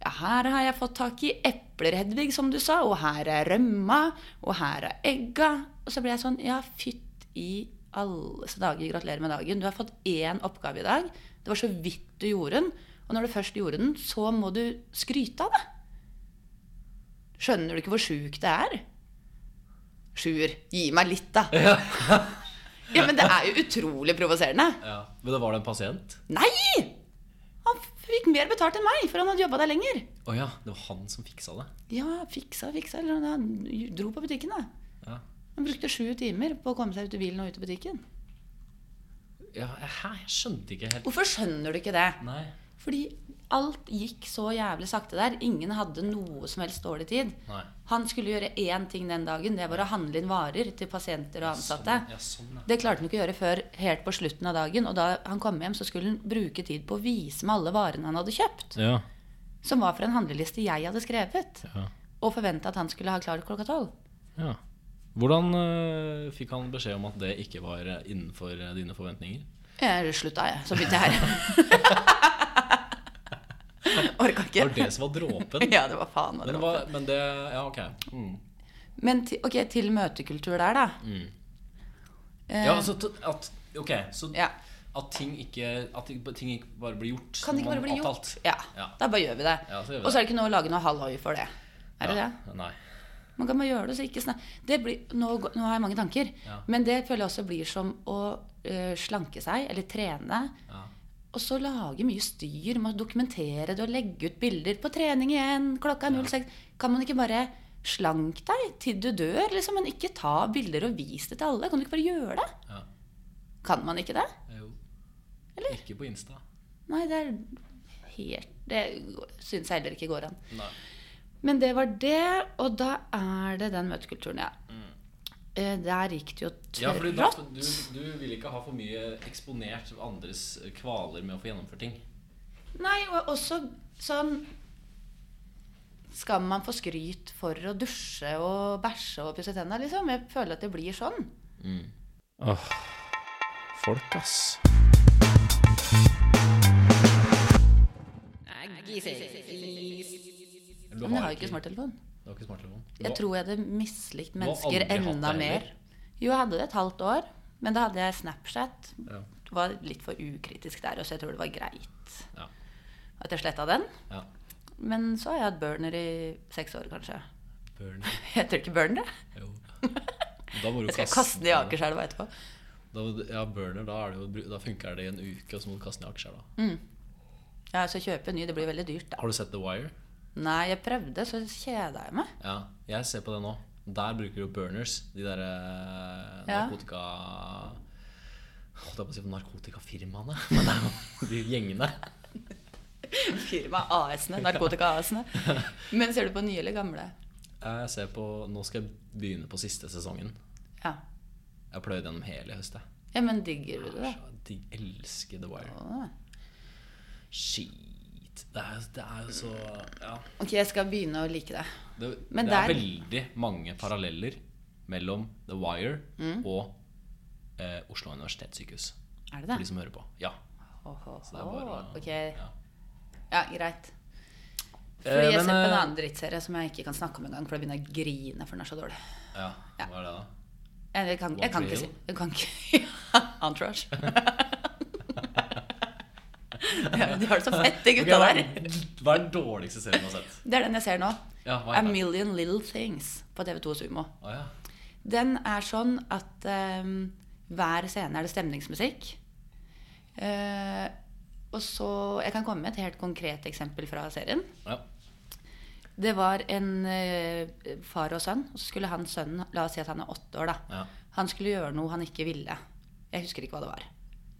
Speaker 2: Ja, her har jeg fått tak i epler, Hedvig, som du sa, og her er rømma, og her er egga. Og så ble jeg sånn, ja, fytt i alles dager, gratulerer med dagen. Du har fått én oppgave i dag. Det var så vidt du gjorde den. Og når du først gjorde den, så må du skryte av det. Skjønner du ikke hvor sjukt det er? Sjuer, gi meg litt, da.
Speaker 1: Ja.
Speaker 2: Ja, men det er jo utrolig provoserende.
Speaker 1: ja. Men det var det en pasient?
Speaker 2: Nei! Han fikk mer betalt enn meg, for han hadde jobba der lenger.
Speaker 1: Å ja, det var han som fiksa det.
Speaker 2: Ja, fiksa, fiksa. Eller han dro på butikken, da.
Speaker 1: Ja.
Speaker 2: Han brukte sju timer på å komme seg ut i bilen og ut i butikken.
Speaker 1: Ja, hæ, jeg skjønte ikke helt
Speaker 2: Hvorfor skjønner du ikke det?
Speaker 1: Nei.
Speaker 2: Fordi alt gikk så jævlig sakte der. Ingen hadde noe som helst dårlig tid.
Speaker 1: Nei.
Speaker 2: Han skulle gjøre én ting den dagen. Det var å handle inn varer til pasienter og ansatte.
Speaker 1: Sånn, ja, sånn, ja.
Speaker 2: Det klarte han ikke å gjøre før helt på slutten av dagen. Og da han kom hjem, så skulle han bruke tid på å vise meg alle varene han hadde kjøpt.
Speaker 1: ja.
Speaker 2: Som var fra en handleliste jeg hadde skrevet.
Speaker 1: Ja.
Speaker 2: Og forventa at han skulle ha klart klokka tolv.
Speaker 1: ja. Hvordan eh, fikk han beskjed om at det ikke var eh, innenfor eh, dine forventninger?
Speaker 2: Jeg slutta, jeg. Så begynte jeg her. Orka
Speaker 1: Det var det
Speaker 2: ikke.
Speaker 1: som var dråpen.
Speaker 2: Ja, det var faen hva det
Speaker 1: Men,
Speaker 2: var.
Speaker 1: hva- men det Ja, ok. Mm.
Speaker 2: Men til, ok, til møtekultur der, da. Eh,
Speaker 1: Ja, så t- at Ok, så
Speaker 2: ja.
Speaker 1: at ting ikke At ikke- ting ikke bare blir gjort.
Speaker 2: Kan det
Speaker 1: når man
Speaker 2: ikke bare bli
Speaker 1: har
Speaker 2: gjort?
Speaker 1: avtalt.
Speaker 2: Ja.
Speaker 1: Ja.
Speaker 2: Da bare gjør vi det.
Speaker 1: Ja, så gjør vi
Speaker 2: Og så er det ikke noe å lage noe halloi for det. Er det
Speaker 1: ja.
Speaker 2: det?
Speaker 1: Nei.
Speaker 2: Man kan bare gjøre det, så ikke snak- Det blir, nå, gå- nå har jeg mange tanker.
Speaker 1: Ja.
Speaker 2: Men det føler jeg også blir som å eh, slanke seg, eller trene.
Speaker 1: Ja.
Speaker 2: Og så lage mye styr med å dokumentere det og legge ut bilder på trening igjen. Klokka er 06. Kan man ikke bare slank deg til du dør, liksom? Men ikke ta bilder og vis det til alle. Kan du ikke bare gjøre det?
Speaker 1: Ja.
Speaker 2: Kan man ikke det?
Speaker 1: Jo.
Speaker 2: Eller?
Speaker 1: Ikke på Insta.
Speaker 2: Nei, det er helt Det syns jeg heller ikke går an.
Speaker 1: Nei.
Speaker 2: Men det var det, og da er det den møtekulturen, ja. Eh, Der gikk det jo
Speaker 1: Mm. Ja, fordi da,
Speaker 2: trått.
Speaker 1: du, du vil ikke ha for mye eksponert andres kvaler med å få gjennomført ting.
Speaker 2: Nei, og også sånn Skal man få skryt for å dusje og bæsje og pusse tenna, liksom? Jeg føler at det blir sånn.
Speaker 3: Åh, folk, ass.
Speaker 1: Eller Du
Speaker 2: Men jeg har jo ikke smarttelefon.
Speaker 1: du har ikke smarttelefon. Du
Speaker 2: Jeg
Speaker 1: har-
Speaker 2: tror jeg hadde mislikt
Speaker 1: har aldri
Speaker 2: mennesker
Speaker 1: hatt
Speaker 2: enda
Speaker 1: det
Speaker 2: mer.
Speaker 1: heller.
Speaker 2: Jo, jeg hadde det et halvt år, men da hadde jeg Snapchat.
Speaker 1: Ja.
Speaker 2: Var litt for ukritisk der, og så jeg tror det var greit
Speaker 1: Ja.
Speaker 2: at jeg sletta den.
Speaker 1: ja.
Speaker 2: Men så har jeg hatt burner i seks år, kanskje.
Speaker 1: Burn.
Speaker 2: Heter det ikke burner? det?
Speaker 1: Jo. Da må du
Speaker 2: Jeg skal kaste den i Akerselva etterpå.
Speaker 1: Da, ja, burner, da, er det jo, bru- da funker det i en uke, og så må du kaste den i Akerselva.
Speaker 2: Ja, så kjøpe en ny. Det blir veldig dyrt, da.
Speaker 1: Har du sett The Wire?
Speaker 2: Nei, jeg prøvde, så kjeda jeg meg.
Speaker 1: Ja, jeg ser på det nå. Der bruker du burners, de derre
Speaker 2: Ja.
Speaker 1: narkotika... Holdt jeg på å si narkotikafirmaene, men det er jo de gjengene.
Speaker 2: Firma AS-ene. Narkotika AS-ene. Men ser du på nye eller gamle?
Speaker 1: Jeg ser på, Nå skal jeg begynne på siste sesongen.
Speaker 2: Ja.
Speaker 1: Jeg pløyde gjennom hele høst. jeg.
Speaker 2: ja, men digger du det?
Speaker 1: Så De elsker The Wire.
Speaker 2: da?
Speaker 1: Shit. Det er, det er jo så Ja.
Speaker 2: Ok, jeg skal begynne å like det.
Speaker 1: Det,
Speaker 2: Men
Speaker 1: det er
Speaker 2: der-
Speaker 1: veldig mange paralleller mellom The Wire
Speaker 2: Mm.
Speaker 1: og eh, Oslo universitetssykehus.
Speaker 2: Er
Speaker 1: For
Speaker 2: det det?
Speaker 1: de som hører på. Ja.
Speaker 2: Ho, ho,
Speaker 1: Så det er bare
Speaker 2: ho.
Speaker 1: å-
Speaker 2: Ok,
Speaker 1: ja.
Speaker 2: ja, greit.
Speaker 1: Eh,
Speaker 2: Eh, Fordi jeg
Speaker 1: men,
Speaker 2: ser på en
Speaker 1: eh,
Speaker 2: annen drittserie som jeg ikke kan snakke om engang, for jeg begynner å grine, for den er så dårlig.
Speaker 1: Ja, hva er det da?
Speaker 2: Jeg, jeg, kan, jeg kan ikke si
Speaker 1: Montreal?
Speaker 2: jeg kan ikke, Entourage. ja, de har det så fett, de gutta
Speaker 1: hva,
Speaker 2: der.
Speaker 1: er, hva er den dårligste serien du har sett?
Speaker 2: Det er den jeg ser nå.
Speaker 1: Ja, hva
Speaker 2: A
Speaker 1: er det?
Speaker 2: Million Little Things på TV2 Sumo.
Speaker 1: Å, ja.
Speaker 2: Den er sånn at ehm, hver scene er det stemningsmusikk. Eh, og så Jeg kan komme med et helt konkret eksempel fra serien.
Speaker 1: Ja.
Speaker 2: Det var en eh, far og sønn, og så skulle han sønnen La oss si at han er åtte år, da.
Speaker 1: Ja.
Speaker 2: Han skulle gjøre noe han ikke ville. Jeg husker ikke hva det var.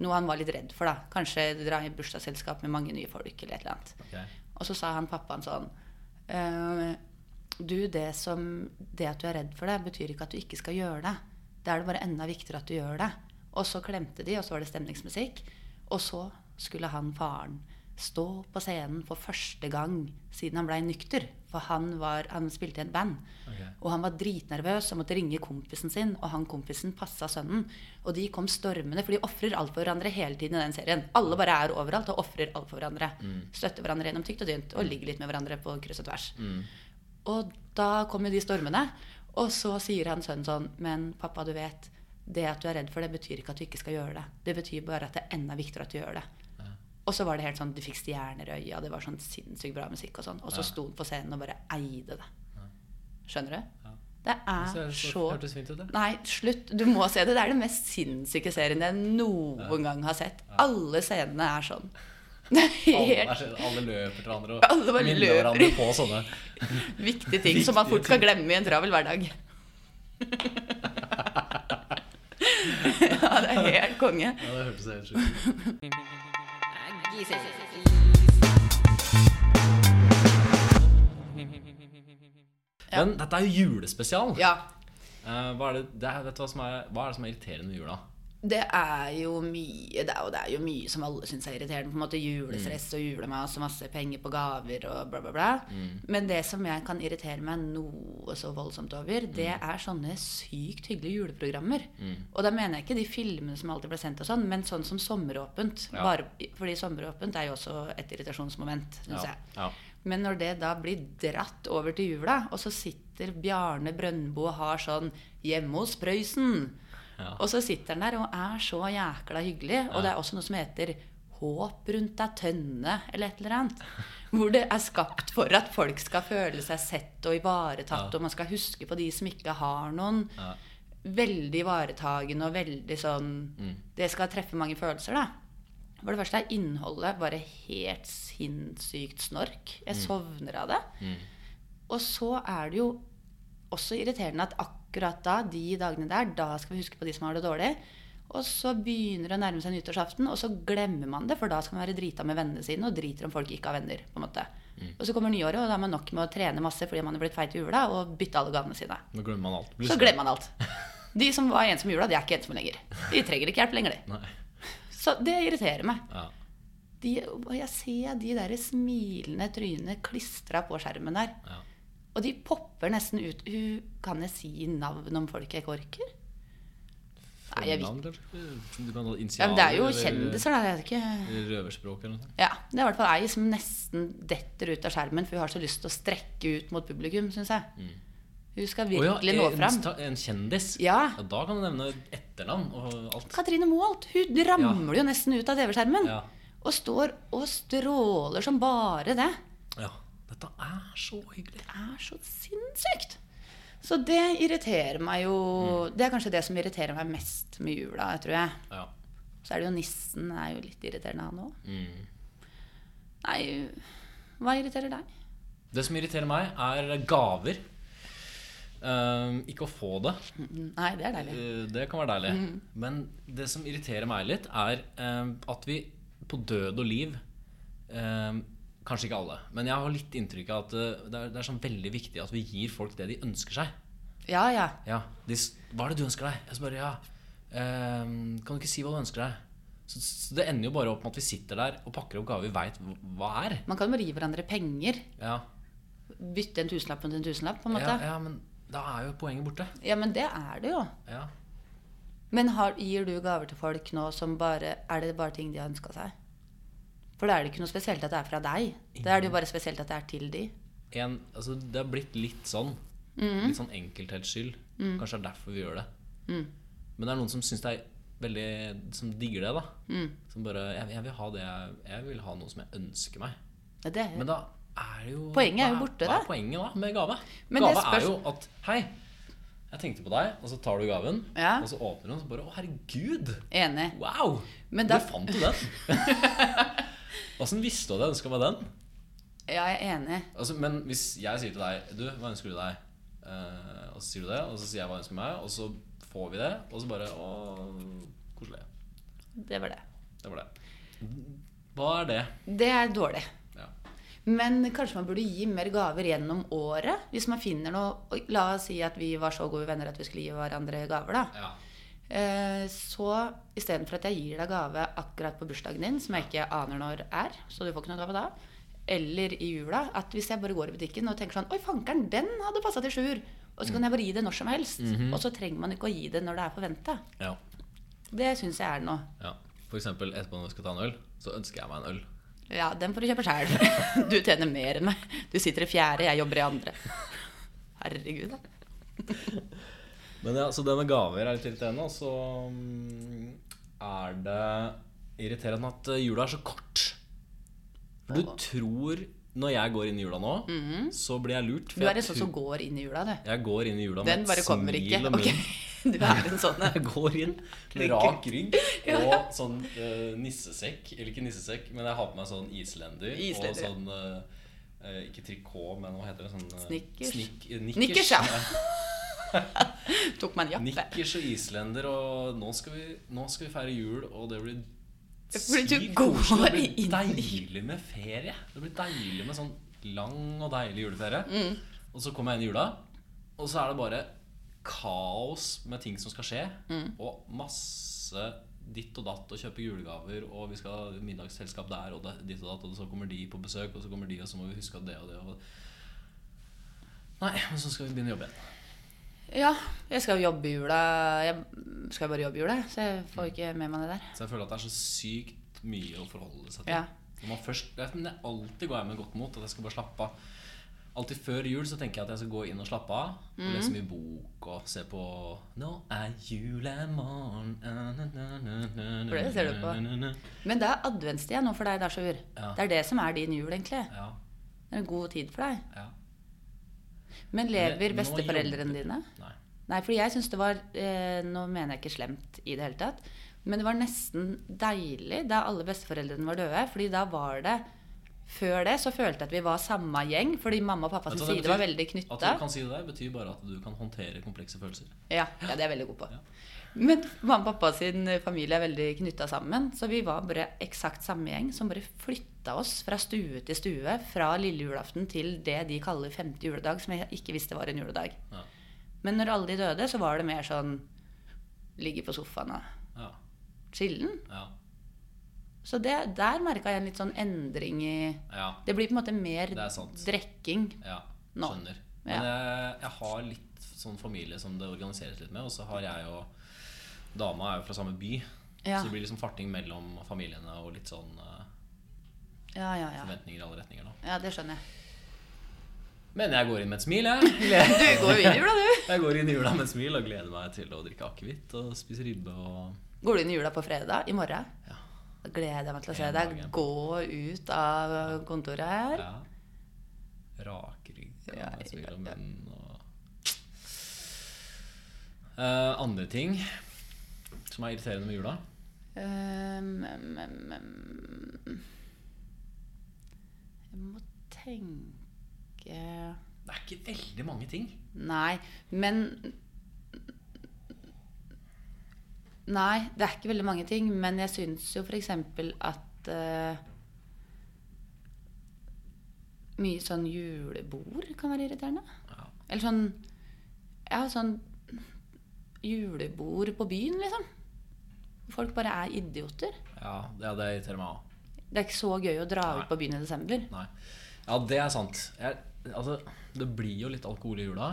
Speaker 2: Noe han var litt redd for, da. Kanskje dra i bursdagsselskap med mange nye folk, eller et eller annet.
Speaker 1: ok.
Speaker 2: Og så sa han pappaen sånn «Eh, Du, det, som, det at du er redd for det, betyr ikke at du ikke skal gjøre det. Da er det bare enda viktigere at du gjør det. Og så klemte de, og så var det stemningsmusikk. Og så skulle han faren stå på scenen for første gang siden han blei nykter. For han, var, han spilte i et band.
Speaker 1: Ok.
Speaker 2: Og han var dritnervøs og måtte ringe kompisen sin, og han kompisen passa sønnen. Og de kom stormende, for de ofrer alt for hverandre hele tiden i den serien. Alle bare er overalt og ofrer alt for hverandre. Støtter hverandre gjennom tykt og tynt og ligger litt med hverandre på kryss og tvers. Og da kom jo de stormende, og så sier han sønnen sånn Men pappa, du vet, det at du er redd for det, betyr ikke at du ikke skal gjøre det. Det betyr bare at det er enda viktigere at du gjør det. Og så var det helt sånn, du fikk stjerner i øya, det var sånn sinnssykt bra musikk og sånn. Og så sto han på scenen og bare eide det. Skjønner du? Det
Speaker 1: Så er
Speaker 2: er
Speaker 1: det så-
Speaker 2: så
Speaker 1: hørtes fint ut, det.
Speaker 2: Nei, slutt. Du må se det. Det er den mest sinnssyke serien jeg noen gang har sett. Alle scenene er sånn. Det er
Speaker 1: Alle,
Speaker 2: helt
Speaker 1: er- alle løper til hverandre
Speaker 2: Alle
Speaker 1: og
Speaker 2: bare
Speaker 1: minner
Speaker 2: løper.
Speaker 1: hverandre på sånne.
Speaker 2: viktige ting som man fort skal glemme i en travel hverdag. Ja, det er helt konge.
Speaker 1: Ja, det hørtes helt sjukt ut. Men dette er jo julespesial.
Speaker 2: Ja.
Speaker 1: Eh, hva, er det, det er, vet du hva, som er, hva er det som er irriterende med jula?
Speaker 2: Det er jo mye det er, og det er jo mye som alle syns er irriterende. På en måte Julestress
Speaker 1: Mm.
Speaker 2: og julemas og masse penger på gaver og bla, bla, bla.
Speaker 1: Mm.
Speaker 2: Men det som jeg kan irritere meg noe så voldsomt over, det
Speaker 1: Mm.
Speaker 2: er sånne sykt hyggelige juleprogrammer. Og da mener jeg ikke de filmene som alltid ble sendt, og sånn, men sånn som Sommeråpent.
Speaker 1: Ja.
Speaker 2: Bare, fordi Sommeråpent er jo også et irritasjonsmoment, syns
Speaker 1: Ja,
Speaker 2: jeg.
Speaker 1: ja.
Speaker 2: Men når det da blir dratt over til jula, og så sitter Bjarne Brøndbo og har sånn 'Hjemme hos Prøysen',
Speaker 1: Ja.
Speaker 2: og så sitter han der og er så jækla hyggelig. Og det er også noe som heter 'Håp rundt ei tønne', eller et eller annet. Hvor det er skapt for at folk skal føle seg sett og ivaretatt,
Speaker 1: Ja.
Speaker 2: og man skal huske på de som ikke har noen.
Speaker 1: Ja.
Speaker 2: Veldig ivaretagende og veldig sånn Det skal treffe mange følelser, da. For det første er innholdet bare helt sinnssykt snork. Jeg sovner av det. Og så er det jo også irriterende at akkurat da, de dagene der, da skal vi huske på de som har det dårlig. Og så begynner det å nærme seg nyttårsaften, og så glemmer man det, for da skal man være drita med vennene sine og driter om folk ikke har venner. på en måte. Og så kommer nyåret, og da er man nok med å trene masse fordi man er blitt feit i jula, og bytte alle gavene sine.
Speaker 1: Nå glemmer man alt. Blir
Speaker 2: Så
Speaker 1: slem.
Speaker 2: glemmer man alt. De som var ensomme i jula, de er ikke ensomme lenger. De trenger ikke hjelp lenger, de.
Speaker 1: Nei.
Speaker 2: Så det irriterer meg.
Speaker 1: Ja.
Speaker 2: De, og jeg ser de der smilende trynene klistra på skjermen der.
Speaker 1: Ja.
Speaker 2: Og de popper nesten ut. Hun, kan jeg si navn om folk jeg ikke orker? Nei, jeg vet ikke.
Speaker 1: Navn, eller? Du kan ha
Speaker 2: Ja, men det er jo
Speaker 1: initialer, eller-
Speaker 2: kjendiser, da. Jeg vet ikke.
Speaker 1: eller Røverspråk eller noe sånt.
Speaker 2: Ja, det er i hvert fall ei som nesten detter ut av skjermen, for hun har så lyst til å strekke ut mot publikum, syns jeg. Hun skal
Speaker 1: Mm. Å ja, eh,
Speaker 2: virkelig nå
Speaker 1: en-
Speaker 2: fram.
Speaker 1: En kjendis?
Speaker 2: Ja.
Speaker 1: Da kan du nevne etternavn og alt.
Speaker 2: Katrine Moholt, hun ramler jo nesten ut av TV-skjermen.
Speaker 1: Ja.
Speaker 2: Og står og stråler som bare det.
Speaker 1: Ja. Dette er så hyggelig.
Speaker 2: Det er så sinnssykt! Så det irriterer meg jo Det er kanskje det som irriterer meg mest med jula, tror jeg.
Speaker 1: Ja.
Speaker 2: Så er det jo nissen. er jo litt irriterende, han òg.
Speaker 1: Mm.
Speaker 2: Nei, hva irriterer deg?
Speaker 1: Det som irriterer meg, er gaver. Ehm, ikke å få det.
Speaker 2: Nei, det er deilig.
Speaker 1: Eh, Det kan være deilig. Men det som irriterer meg litt, er eh, at vi på død og liv eh, Kanskje ikke alle, men jeg har litt inntrykk av at eh, det er, det er sånn veldig viktig at vi gir folk det de ønsker seg.
Speaker 2: Ja, ja.
Speaker 1: Ja, de, s- Hva er det du ønsker deg? Jeg spør, ja. eh, kan du ikke si hva du ønsker deg? Så, så Det ender jo bare opp med at vi sitter der og pakker opp gaver vi veit hva er.
Speaker 2: Man kan jo bare gi hverandre penger.
Speaker 1: Ja,
Speaker 2: Bytte en tusenlapp mot en tusenlapp, på en
Speaker 1: ja,
Speaker 2: måte. Ja,
Speaker 1: ja, men da er jo poenget borte.
Speaker 2: men det er det jo.
Speaker 1: Ja.
Speaker 2: Men har, gir du gaver til folk nå som bare Er det bare ting de har ønska seg? For da er det ikke noe spesielt at det er fra deg. Da er det jo bare spesielt at det er til de.
Speaker 1: en, altså, det har blitt litt sånn.
Speaker 2: Mm.
Speaker 1: Litt sånn enkelthetsskyld. Kanskje det er derfor vi gjør det. Men det er noen som syns det er veldig Som digger det, da.
Speaker 2: Mm.
Speaker 1: Som bare jeg, jeg vil ha det jeg, jeg vil ha noe som jeg ønsker meg.
Speaker 2: Ja, Det er
Speaker 1: Men da er jo
Speaker 2: Poenget er jo
Speaker 1: hva
Speaker 2: borte,
Speaker 1: Hva
Speaker 2: da.
Speaker 1: er poenget da med gave?
Speaker 2: Men det
Speaker 1: gave er
Speaker 2: spørs-
Speaker 1: jo at Hei, jeg tenkte på deg, og så tar du gaven,
Speaker 2: Ja.
Speaker 1: og så åpner du den, og så bare Å, herregud!
Speaker 2: Enig.
Speaker 1: Wow!
Speaker 2: Men
Speaker 1: Hvor
Speaker 2: da-
Speaker 1: fant du den? Åssen visste du at jeg ønska meg den?
Speaker 2: Ja, jeg er enig.
Speaker 1: Altså, men hvis jeg sier til deg Du, hva ønsker du deg? Eh, og så sier du det, og så sier jeg hva jeg ønsker meg, og så får vi det, og så bare Å, koselig.
Speaker 2: Det var det.
Speaker 1: Det var det. Hva er det?
Speaker 2: Det er dårlig.
Speaker 1: Ja.
Speaker 2: Men kanskje man burde gi mer gaver gjennom året? Hvis man finner noe og La oss si at vi var så gode venner at vi skulle gi hverandre gaver, da.
Speaker 1: ja.
Speaker 2: Eh, Så istedenfor at jeg gir deg gave akkurat på bursdagen din, som jeg ikke aner når er, så du får ikke noe gave da, eller i jula, at hvis jeg bare går i butikken og tenker sånn Oi, fankeren, den hadde passa til sjuer. Og så kan jeg bare gi det når som helst. Og så trenger man ikke å gi det når det er forventa.
Speaker 1: ja.
Speaker 2: Det syns jeg er noe.
Speaker 1: ja. For eksempel etterpå når vi skal ta en øl, så ønsker jeg meg en øl.
Speaker 2: Ja, den får du kjøpe sjæl. Du tjener mer enn meg. Du sitter i fjerde, jeg jobber i andre. Herregud, da.
Speaker 1: Men ja, Så det med gaver er litt irriterende. Og så mm, er det irriterende at eh, jula er så kort. For du tror Når jeg går inn i jula nå, så blir jeg lurt.
Speaker 2: Mhm. Du er
Speaker 1: jeg,
Speaker 2: en sånn
Speaker 1: tror-
Speaker 2: som går inn i jula, du.
Speaker 1: jeg går inn i jula
Speaker 2: Den
Speaker 1: med
Speaker 2: bare
Speaker 1: et
Speaker 2: kommer
Speaker 1: smil
Speaker 2: ikke.
Speaker 1: om
Speaker 2: Ok,
Speaker 1: munnen.
Speaker 2: Du er en sånn en.
Speaker 1: Jeg går inn med rak rygg og sånn eh, nissesekk. Eller ikke nissesekk, men jeg har på meg sånn islender.
Speaker 2: Islender,
Speaker 1: Og
Speaker 2: ja.
Speaker 1: sånn eh, eh, Ikke trikot, men hva heter det? Sånn, eh,
Speaker 2: Snickers.
Speaker 1: Snik, eh,
Speaker 2: Nikkers,
Speaker 1: nikkers.
Speaker 2: ja. Tok meg en jappe.
Speaker 1: Nikkers og islender, og nå skal vi, nå skal vi feire jul, og det blir
Speaker 2: Fordi du
Speaker 1: sykt
Speaker 2: går
Speaker 1: koselig. Det
Speaker 2: inn
Speaker 1: blir
Speaker 2: i-
Speaker 1: deilig med ferie. Det blir deilig med Mm. sånn lang og deilig juleferie. Og så kommer jeg inn i jula, og så er det bare kaos med ting som skal skje, og masse ditt og datt, og kjøpe julegaver, og vi skal ha middagsselskap der, og det, ditt og datt, og så kommer de på besøk, og så kommer de, og så må vi huske at det og det og Nei, men så skal vi begynne å jobbe igjen.
Speaker 2: Ja, jeg skal jo jobbe i jula. Jeg skal jo bare jobbe i jula, så jeg får ikke med meg det der.
Speaker 1: Så jeg føler at det er så sykt mye å forholde seg til.
Speaker 2: Ja.
Speaker 1: Når man først, det er- men det alltid går jeg med godt mot at jeg skal bare slappe av. Alltid før jul så tenker jeg at jeg skal gå inn og slappe av.
Speaker 2: Mm.
Speaker 1: Og lese mye bok og se på 'Nå er julemorgen'
Speaker 2: For det ser du
Speaker 1: på.
Speaker 2: Men det er adventstida nå for deg, Dashaur.
Speaker 1: Ja.
Speaker 2: Det er det som er din jul, egentlig.
Speaker 1: Ja,
Speaker 2: Det er en god tid for deg.
Speaker 1: ja.
Speaker 2: Men lever
Speaker 1: Men nå
Speaker 2: besteforeldrene
Speaker 1: jobber-
Speaker 2: dine?
Speaker 1: Nei.
Speaker 2: Nei, for jeg syns det var eh, Nå mener jeg ikke slemt i det hele tatt, men det var nesten deilig da alle besteforeldrene var døde, fordi da var det før det så følte jeg at vi var samme gjeng, fordi mamma og pappa
Speaker 1: Vet
Speaker 2: sin
Speaker 1: du hva Altså,
Speaker 2: side
Speaker 1: det
Speaker 2: var
Speaker 1: betyr?
Speaker 2: veldig
Speaker 1: At
Speaker 2: knytta.
Speaker 1: du kan si det der, betyr bare at du kan håndtere komplekse følelser.
Speaker 2: Ja, ja, det er jeg veldig god på.
Speaker 1: Ja.
Speaker 2: Men mamma og pappa sin familie er veldig knytta sammen, så vi var bare eksakt samme gjeng som bare flytta oss fra stue til stue fra lille julaften til det de kaller femte juledag, som jeg ikke visste var en juledag.
Speaker 1: Ja.
Speaker 2: Men når alle de døde, så var det mer sånn ligge på sofaen og
Speaker 1: Ja.
Speaker 2: chillen.
Speaker 1: Ja.
Speaker 2: Så det, der merka jeg en litt sånn endring i
Speaker 1: ja.
Speaker 2: Det blir på en måte mer
Speaker 1: Det er sant.
Speaker 2: drekking.
Speaker 1: Ja,
Speaker 2: Nå.
Speaker 1: skjønner. Men
Speaker 2: Ja.
Speaker 1: jeg, jeg har litt sånn familie som det organiseres litt med, og så har jeg og dama er jo fra samme by.
Speaker 2: Ja.
Speaker 1: Så det blir liksom farting mellom familiene og litt sånn eh,
Speaker 2: Ja, ja, ja.
Speaker 1: forventninger i alle retninger. da
Speaker 2: Ja, det skjønner jeg.
Speaker 1: Men jeg går inn med et smil, jeg.
Speaker 2: Du går jo inn i jula, du.
Speaker 1: Jeg går inn i jula med et smil og gleder meg til å drikke akevitt og spise ribbe og
Speaker 2: Går du inn i jula på fredag? I morgen?
Speaker 1: Ja.
Speaker 2: Da gleder jeg meg til å se
Speaker 1: En
Speaker 2: deg
Speaker 1: dag, ja.
Speaker 2: gå ut av kontoret her.
Speaker 1: ja. Rakrygg og
Speaker 2: Ja,
Speaker 1: med et smil
Speaker 2: ja,
Speaker 1: om munnen og Eh, Andre ting som er irriterende med jula.
Speaker 2: Um, um, um, um. Jeg må tenke
Speaker 1: Det er ikke veldig mange ting.
Speaker 2: Nei, men Nei, det er ikke veldig mange ting, men jeg syns jo f.eks. at eh, Mye sånn julebord kan være irriterende.
Speaker 1: Ja.
Speaker 2: Eller sånn Ja, sånn julebord på byen, liksom. Folk bare er idioter.
Speaker 1: Ja, det, ja, det irriterer meg òg.
Speaker 2: Det er ikke så gøy å dra
Speaker 1: Nei.
Speaker 2: ut på byen i desember.
Speaker 1: Nei. Ja, det er sant. Jeg, altså, det blir jo litt alkohol i jula.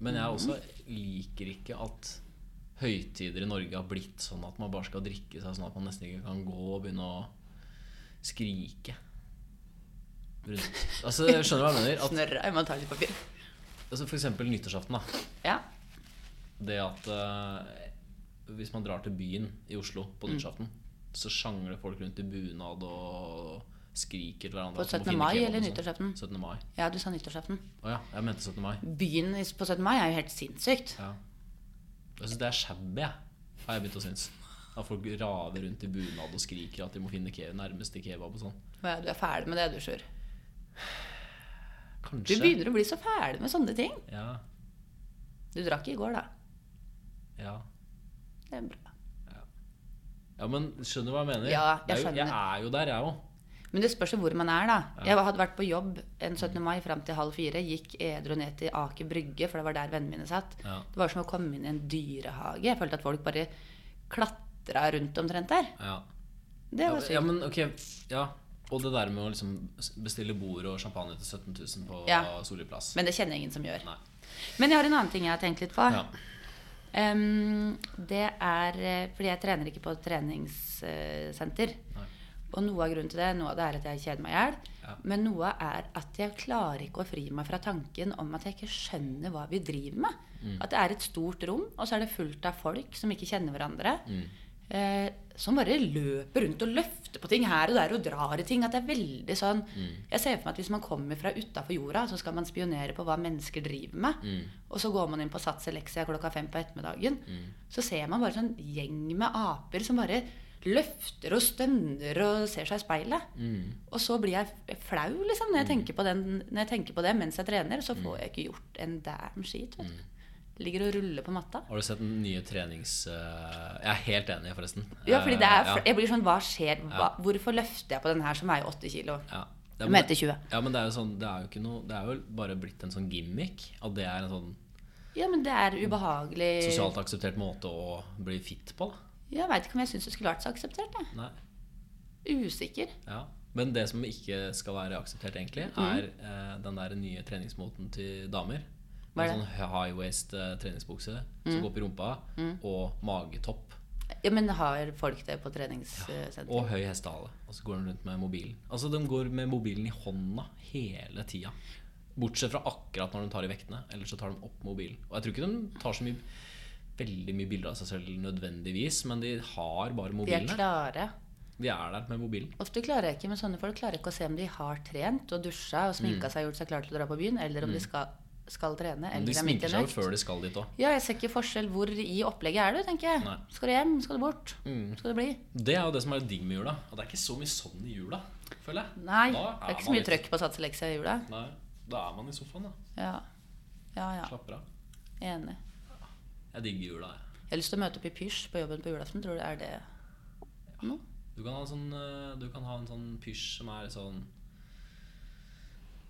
Speaker 1: Men jeg også liker ikke at høytider i Norge har blitt sånn at man bare skal drikke seg sånn at man nesten ikke kan gå og begynne å skrike. Rundt. Altså, jeg skjønner hva jeg mener. At,
Speaker 2: Snørra, jeg må ta litt papir.
Speaker 1: altså, for eksempel nyttårsaften. da
Speaker 2: Ja.
Speaker 1: Det at eh, hvis man drar til byen i Oslo på
Speaker 2: Mm.
Speaker 1: nyttårsaften, så sjangler folk rundt i bunad og skriker til hverandre.
Speaker 2: På
Speaker 1: at de må
Speaker 2: 17.
Speaker 1: finne
Speaker 2: mai
Speaker 1: kebab og
Speaker 2: eller
Speaker 1: sånn.
Speaker 2: nyttårsaften?
Speaker 1: 17. mai.
Speaker 2: ja, du sa nyttårsaften.
Speaker 1: Å ja, jeg mente 17. mai.
Speaker 2: Byen i- på 17. mai er jo helt sinnssykt.
Speaker 1: Ja. Jeg syns det er shabby, jeg, har jeg begynt å synes. At folk raver rundt i bunad og skriker at de må finne ke nærmeste kebab og sånn.
Speaker 2: Ja, du er ferdig med det, du, Sjur. Du
Speaker 1: Kanskje.
Speaker 2: begynner å bli så ferdig med sånne ting.
Speaker 1: Ja,
Speaker 2: Du drakk i går, da.
Speaker 1: ja.
Speaker 2: Det er bra.
Speaker 1: ja, men skjønner du hva jeg mener?
Speaker 2: Ja,
Speaker 1: Det
Speaker 2: jeg
Speaker 1: er jo, jeg
Speaker 2: skjønner.
Speaker 1: er jo der, jeg òg.
Speaker 2: Men det spørs jo hvor man er, da. Jeg hadde vært på jobb en 17. mai fram til halv fire. Gikk edru ned til Aker Brygge, for det var der vennene mine satt.
Speaker 1: Ja.
Speaker 2: Det var som å komme inn i en dyrehage. Jeg følte at folk bare klatra rundt omtrent der.
Speaker 1: Ja.
Speaker 2: Det var
Speaker 1: Ja, ja,
Speaker 2: sykt.
Speaker 1: men ok, ja. Og det der med å liksom bestille bord og champagne til 17 000 på
Speaker 2: Ja.
Speaker 1: Solli plass.
Speaker 2: Men det kjenner jeg ingen som gjør.
Speaker 1: Nei.
Speaker 2: Men jeg har en annen ting jeg har tenkt litt på.
Speaker 1: Ja.
Speaker 2: Em, det er eh, fordi jeg trener ikke på treningssenter.
Speaker 1: Nei.
Speaker 2: Og noe av grunnen til det, noe av det er at jeg kjeder meg i hjel.
Speaker 1: Ja.
Speaker 2: Men noe er at jeg klarer ikke å fri meg fra tanken om at jeg ikke skjønner hva vi driver med.
Speaker 1: Mm.
Speaker 2: At det er et stort rom, og så er det fullt av folk som ikke kjenner hverandre.
Speaker 1: Mm.
Speaker 2: Eh, som bare løper rundt og løfter på ting her og der og drar i ting. At det er veldig sånn Jeg ser for meg at hvis man kommer fra utafor jorda, så skal man spionere på hva mennesker driver med. Og så går man inn på Sats Elexia klokka fem på ettermiddagen. Så ser man bare sånn gjeng med aper som bare løfter og stønner og ser seg i speilet. Og så blir jeg flau liksom, når jeg, tenker på den, når jeg tenker på det mens jeg trener. Så får jeg ikke gjort en damn skit. Vet du. Ligger og ruller på matta.
Speaker 1: Har du sett den nye trenings... eh, jeg er helt enig, forresten.
Speaker 2: Ja, fordi det er,
Speaker 1: Eh, ja.
Speaker 2: Jeg blir sånn Hva skjer? Hva, hvorfor løfter jeg på den her som veier 8 kilo?
Speaker 1: Ja.
Speaker 2: Som heter 20.
Speaker 1: Ja, men det er jo sånn Det er jo ikke noe Det er jo bare blitt en sånn gimmick. At det er en sånn
Speaker 2: Ja, men det er ubehagelig.
Speaker 1: Sosialt akseptert måte å bli fit på, da.
Speaker 2: Jeg veit ikke om jeg syns det skulle vært så akseptert. Jeg.
Speaker 1: Nei.
Speaker 2: Usikker.
Speaker 1: Ja. Men det som ikke skal være akseptert, egentlig,
Speaker 2: Mhm.
Speaker 1: er eh, den der nye treningsmoten til damer.
Speaker 2: Hva er
Speaker 1: Med
Speaker 2: Mhm.
Speaker 1: sånn high-waist eh, treningsbukse som går opp i rumpa, og magetopp.
Speaker 2: Ja, Men har folk det på treningssenter?
Speaker 1: Og høy hestehale. Og så går de rundt med mobilen. Altså, de går med mobilen i hånda hele tida. Bortsett fra akkurat når de tar i vektene. Ellers så tar de opp mobilen. Og jeg tror ikke de tar så mye veldig mye bilder av seg selv nødvendigvis, men de har bare
Speaker 2: De er
Speaker 1: mobilen. der.
Speaker 2: klare.
Speaker 1: De er der med mobilen.
Speaker 2: Ofte klarer jeg ikke, men sånne folk klarer ikke å se om de har trent og dusja og sminka seg og gjort seg klar til å dra på byen, eller om de skal, skal trene.
Speaker 1: Mm. Men
Speaker 2: Eller
Speaker 1: de
Speaker 2: er
Speaker 1: sminker
Speaker 2: midt i en
Speaker 1: seg jo
Speaker 2: økt.
Speaker 1: før de skal dit òg.
Speaker 2: Ja, jeg ser ikke forskjell hvor i opplegget er du, tenker jeg.
Speaker 1: Nei. Mm.
Speaker 2: Skal du hjem? Skal du bort? Skal du bli?
Speaker 1: Det er jo det som er digg med jula. At det er ikke så mye sånn i jula, føler jeg.
Speaker 2: Nei, det
Speaker 1: Da
Speaker 2: er ikke så
Speaker 1: man
Speaker 2: mye
Speaker 1: litt-
Speaker 2: trøkk på satseleksa i jula.
Speaker 1: Nei, da er man i sofaen, da.
Speaker 2: Ja. ja, ja.
Speaker 1: Slapper av.
Speaker 2: Enig.
Speaker 1: Jeg digger jula, jeg.
Speaker 2: Jeg har lyst til å møte opp i pysj på jobben på julaften. Tror du er det nå?
Speaker 1: Du kan ha en sånn, eh, du kan ha en sånn pysj som er sånn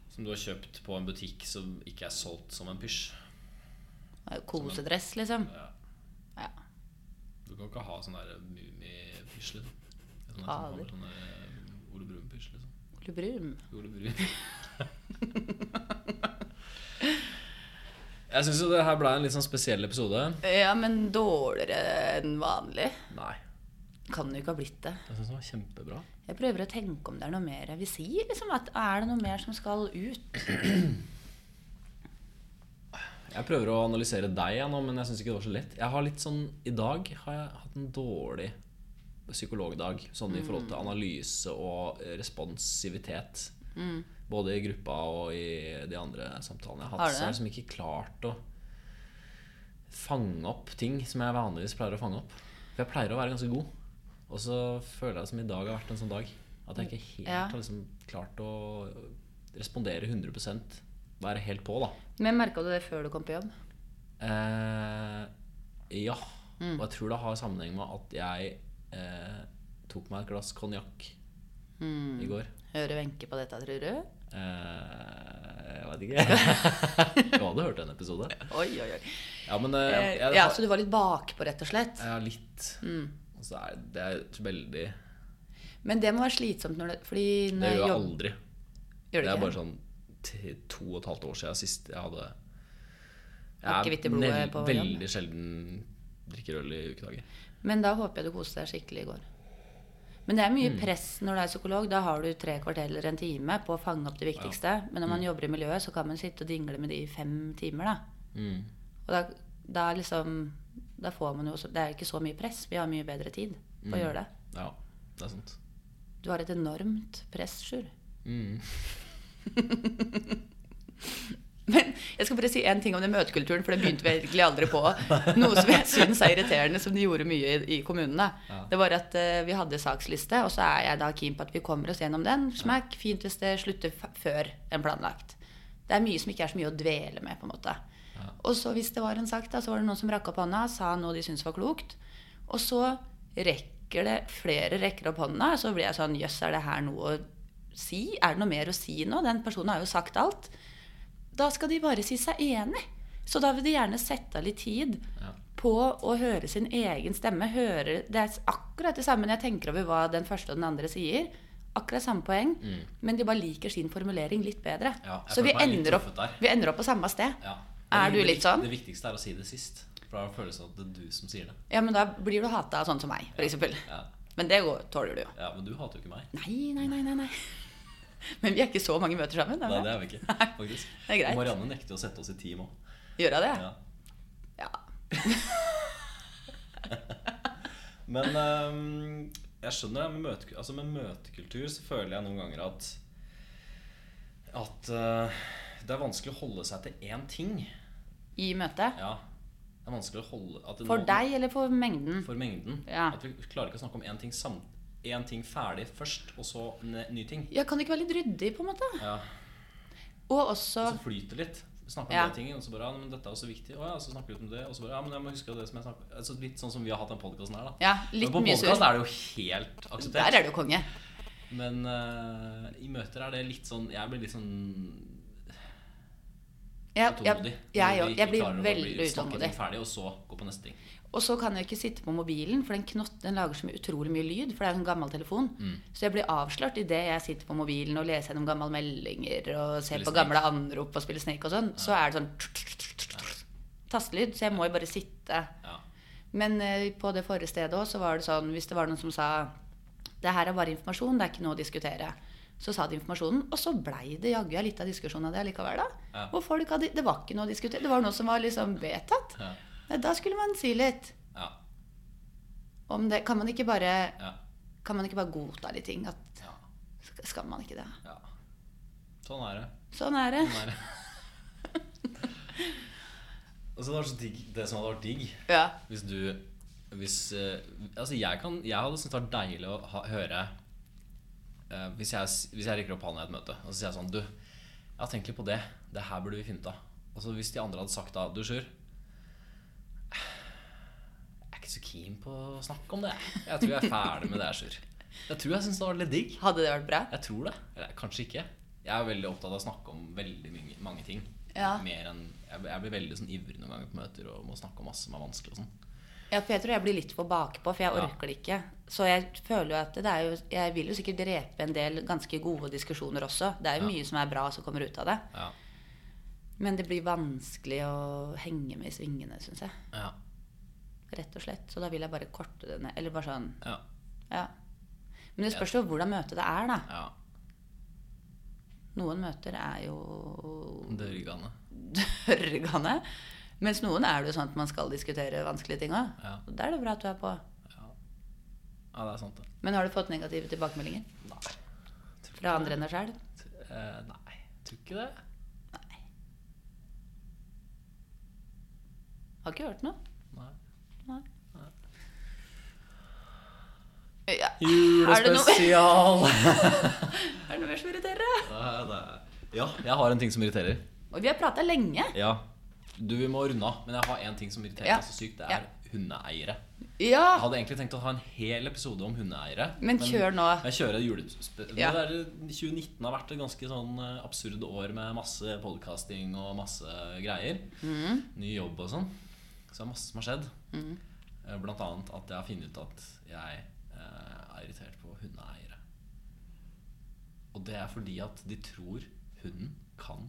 Speaker 1: Som du har kjøpt på en butikk som ikke er solgt som en pysj.
Speaker 2: Kosedress, liksom?
Speaker 1: Ja.
Speaker 2: Ja.
Speaker 1: Du kan ikke ha sånn der mummipysj, liksom. Sånn der, som
Speaker 2: Fader.
Speaker 1: kommer, sånn der, eh, Ole Brumm-pysj, liksom.
Speaker 2: Ole Brumm.
Speaker 1: Ole Brumm. Jeg syns jo det her ble en litt sånn spesiell episode.
Speaker 2: Ja, men dårligere enn vanlig.
Speaker 1: Nei.
Speaker 2: Kan det jo ikke ha blitt det.
Speaker 1: Jeg syns den var kjempebra.
Speaker 2: Jeg prøver å tenke om det er noe mer jeg vil si. Liksom, at er det noe mer som skal ut?
Speaker 1: Jeg prøver å analysere deg jeg, nå, men jeg syns ikke det var så lett. Jeg har litt sånn, I dag har jeg hatt en dårlig psykologdag sånn i forhold
Speaker 2: Mm.
Speaker 1: til analyse og eh, responsivitet.
Speaker 2: Mm.
Speaker 1: Både i gruppa og i de andre samtalene jeg har
Speaker 2: Har
Speaker 1: hatt.
Speaker 2: du
Speaker 1: Så jeg har
Speaker 2: det?
Speaker 1: liksom ikke klart å fange opp ting som jeg vanligvis pleier å fange opp. For jeg pleier å være ganske god. Og så føler jeg som i dag har vært en sånn dag. At jeg ikke helt
Speaker 2: Ja.
Speaker 1: har liksom klart å respondere 100 Være helt på, da.
Speaker 2: Men merka du det før du kom på jobb?
Speaker 1: Eh, ja.
Speaker 2: Mm.
Speaker 1: Og jeg tror det har sammenheng med at jeg eh, tok meg et glass konjakk
Speaker 2: Mm.
Speaker 1: i går.
Speaker 2: Hører Wenche på dette, tror du?
Speaker 1: Eh, jeg veit ikke. du hadde hørt en episode?
Speaker 2: Oi, oi, oi.
Speaker 1: Ja, men eh, jeg, jeg,
Speaker 2: Ja, Mm. så du var litt bakpå, rett og slett.
Speaker 1: jeg har litt Og så er det er et veldig
Speaker 2: Men det må være slitsomt når det Fordi
Speaker 1: Det
Speaker 2: når
Speaker 1: gjør jeg
Speaker 2: jobb-
Speaker 1: aldri. Det
Speaker 2: Gjør det
Speaker 1: er
Speaker 2: ikke?
Speaker 1: bare sånn t- to og et halvt år siden sist jeg hadde
Speaker 2: Akevitt i blodet
Speaker 1: nev-
Speaker 2: på jobb.
Speaker 1: veldig sjelden drikker øl i ukedager.
Speaker 2: Men da håper jeg du koste deg skikkelig i går. Men det er mye press når du er psykolog. Da har du tre kvarter eller en time på å fange opp det viktigste. Men når man jobber i miljøet, så kan man sitte og dingle med de i fem timer, da. Og da, da er liksom Da får man jo også Det er ikke så mye press. Vi har mye bedre tid på å gjøre det.
Speaker 1: Ja, det er sant. Mm.
Speaker 2: Du har et enormt press, Sjur. Men jeg skal bare si en ting om den møtekulturen, for det begynte vi egentlig aldri på. Noe som jeg syns er irriterende, som de gjorde mye i, i kommunene. Det var at eh, vi hadde saksliste, og så er jeg da keen på at vi kommer oss gjennom den. Smack, fint hvis det slutter f før enn planlagt. Det er mye som ikke er så mye å dvele med, på en måte. Og så hvis det var en sak, da, så var det noen som rakk opp hånda, sa noe de syntes var klokt. Og så rekker det flere rekker opp hånda, så blir jeg sånn Jøss, er det her noe å si? Er det noe mer å si nå? Den personen har jo sagt alt. Da skal de bare si seg enig. Så da vil de gjerne sette av litt tid
Speaker 1: Ja.
Speaker 2: på å høre sin egen stemme. Høre, det er akkurat det samme når jeg tenker over hva den første og den andre sier. Akkurat samme poeng, men de bare liker sin formulering litt bedre.
Speaker 1: Mm. Ja, jeg
Speaker 2: så vi
Speaker 1: følte meg litt
Speaker 2: ender, opp,
Speaker 1: truffet der.
Speaker 2: vi ender opp på samme sted.
Speaker 1: Ja.
Speaker 2: Er
Speaker 1: Men
Speaker 2: du
Speaker 1: det
Speaker 2: litt
Speaker 1: vik-
Speaker 2: sånn?
Speaker 1: Det viktigste er å si det sist. For da føles det som at det er du som sier det.
Speaker 2: Ja, men da blir du hata av sånn som meg, f.eks.
Speaker 1: Ja,
Speaker 2: Men det går- tåler du jo.
Speaker 1: ja Men du hater jo ikke meg.
Speaker 2: Nei, nei, nei, nei. nei. Men vi er ikke så mange møter sammen. er vi
Speaker 1: Nei,
Speaker 2: det?
Speaker 1: det er vi ikke. faktisk
Speaker 2: det er greit.
Speaker 1: Og Marianne nekter jo å sette oss i team òg.
Speaker 2: Gjør jeg det?
Speaker 1: Ja.
Speaker 2: Ja.
Speaker 1: Men ehm, jeg skjønner det. Med, møte, altså med møtekultur så føler jeg noen ganger at At eh, det er vanskelig å holde seg til én ting.
Speaker 2: I møte?
Speaker 1: Ja. Det er vanskelig å holde at det
Speaker 2: For
Speaker 1: nå-
Speaker 2: deg eller for mengden?
Speaker 1: For mengden.
Speaker 2: Ja.
Speaker 1: At vi klarer ikke å snakke om én ting, sam én ting ferdig først, og så en ny ting.
Speaker 2: Ja, kan det ikke være litt ryddig, på en måte?
Speaker 1: Ja. Altså,
Speaker 2: Og også
Speaker 1: Så flyter det litt. Vi snakker om
Speaker 2: Ja.
Speaker 1: den tingen, og så bare Ja, men dette er også viktig. Å ja, så snakker vi om det. Og så bare Ja, men jeg må huske det som jeg snakker altså, Litt sånn som vi har hatt den podkasten her, da.
Speaker 2: Ja, litt
Speaker 1: men på
Speaker 2: mye sur.
Speaker 1: podkast er det jo helt
Speaker 2: Der
Speaker 1: akseptert.
Speaker 2: er du konge.
Speaker 1: Men eh, i møter er det litt sånn Jeg blir litt sånn
Speaker 2: Jeg, jeg,
Speaker 1: Tålmodig.
Speaker 2: jeg,
Speaker 1: Når
Speaker 2: òg.
Speaker 1: vi ikke
Speaker 2: jeg
Speaker 1: klarer
Speaker 2: blir
Speaker 1: å bare bli-
Speaker 2: veldig
Speaker 1: snakke ting
Speaker 2: utålmodig.
Speaker 1: ferdig, og så gå på neste ting.
Speaker 2: Og så kan jeg ikke sitte på mobilen, for den knotten den lager så mye, utrolig mye lyd. For det er en gammel telefon.
Speaker 1: Mm.
Speaker 2: Så jeg blir avslørt idet jeg sitter på mobilen og leser gjennom gamle meldinger og ser
Speaker 1: Spiller
Speaker 2: på gamle anrop og spiller Snake og sånn. Så er det sånn tastelyd. Så jeg må jo bare sitte.
Speaker 1: Ja.
Speaker 2: Men eh, på det forrige stedet òg, så var det sånn hvis det var noen som sa det her er bare informasjon, det er ikke noe å diskutere. Så sa de informasjonen, og så blei det jaggu litt av diskusjon av det likevel. da.
Speaker 1: Ja.
Speaker 2: Og folk hadde, det var ikke noe å diskutere. Det var noe som var liksom vedtatt.
Speaker 1: Ja.
Speaker 2: Nei, Da skulle man si litt.
Speaker 1: Ja.
Speaker 2: Om det, kan, man ikke bare,
Speaker 1: Ja.
Speaker 2: kan man ikke bare godta litt ting? At,
Speaker 1: ja.
Speaker 2: sk- skal man ikke det?
Speaker 1: ja. Sånn er det.
Speaker 2: Sånn er det.
Speaker 1: Sånn er det. altså, det, var så digg, det som hadde vært digg
Speaker 2: Ja.
Speaker 1: Hvis du hvis, eh, altså jeg, kan, jeg hadde syntes det var deilig å ha, høre eh, hvis, jeg, s- hvis jeg rekker opp hånda i et møte og så sier jeg sånn Du, jeg har tenkt litt på det. Det her burde vi finne ut av. Og så hvis de andre hadde sagt da Du, Sjur. Jeg er ikke så keen på å snakke om det. jeg. Jeg tror jeg er ferdig med det, her, Sjur. Jeg tror jeg syns det var litt digg.
Speaker 2: Hadde det vært bra?
Speaker 1: Jeg tror det. Eller kanskje ikke. Jeg er veldig opptatt av å snakke om veldig mange, mange ting.
Speaker 2: Ja.
Speaker 1: Mer enn, jeg, jeg blir veldig sånn ivrig noen ganger på møter og må snakke om masse som er vanskelig. og sånn
Speaker 2: Ja, for jeg tror jeg blir litt for bakpå, for jeg
Speaker 1: Ja.
Speaker 2: orker det ikke. Så jeg føler jo at det er jo Jeg vil jo sikkert drepe en del ganske gode diskusjoner også. Det er jo mye som er bra som kommer ut av det.
Speaker 1: Ja.
Speaker 2: Men det blir vanskelig å henge med i svingene, syns jeg.
Speaker 1: Ja.
Speaker 2: Rett og slett. Så da vil jeg bare korte det ned. Eller bare sånn
Speaker 1: Ja.
Speaker 2: Ja. Men det spørs jo hvordan møtet det er, da.
Speaker 1: ja.
Speaker 2: Noen møter er jo
Speaker 1: Dørgende.
Speaker 2: dørgende. Mens noen er det jo sånn at man skal diskutere vanskelige ting òg.
Speaker 1: Ja.
Speaker 2: Da er det bra at du er på.
Speaker 1: Ja, det er sant, det.
Speaker 2: Men har du fått negative tilbakemeldinger
Speaker 1: Nei. Tror
Speaker 2: fra
Speaker 1: ikke
Speaker 2: andre enn deg sjøl?
Speaker 1: det. Eh, nei, tror ikke det.
Speaker 2: Har ikke hørt noe.
Speaker 1: Nei.
Speaker 2: Nei. Ja. Er det noe,
Speaker 1: Julespesial!
Speaker 2: er det noe mer som irriterer?
Speaker 1: ja, jeg har en ting som irriterer.
Speaker 2: Og vi har prata lenge.
Speaker 1: Ja. Du, vi må runde av. Men jeg har en ting som irriterer
Speaker 2: Ja.
Speaker 1: meg så sykt. Det
Speaker 2: Ja.
Speaker 1: er hundeeiere. Jeg
Speaker 2: Ja.
Speaker 1: hadde egentlig tenkt å ha en hel episode om hundeeiere.
Speaker 2: Men kjør nå.
Speaker 1: Jeg kjører julespe...
Speaker 2: Ja.
Speaker 1: Det der 2019 har vært et ganske sånn eh, absurd år med masse podcasting og masse greier.
Speaker 2: Mm.
Speaker 1: Ny jobb og sånn. Så det er masse som har skjedd. Eh, Blant annet at jeg har funnet ut at jeg eh, er irritert på hundeeiere. Og det er fordi at de tror hunden kan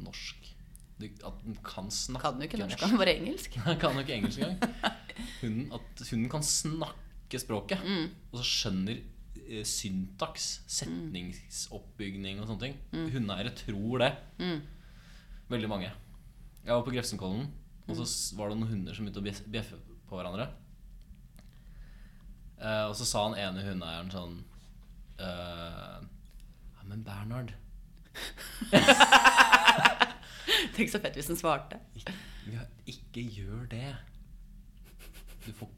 Speaker 1: norsk. De- At den kan snakke
Speaker 2: Kan du ikke norsk, kan bare engelsk?
Speaker 1: jeg kan jo ikke engelsk engang. Hunden, at hunden kan snakke språket. Og så skjønner eh, syntaks, setningsoppbygning og sånne ting. Hundeeiere tror det. Veldig mange. Jeg var på Grefsenkollen, og så s- var det noen hunder som begynte å bjef- bjeffe på hverandre. Eh, og så sa han ene hundeeieren sånn eh, Ja, men Bernhard
Speaker 2: Tenk så fett hvis den svarte.
Speaker 1: Ikke, ja, ikke gjør det. Du får,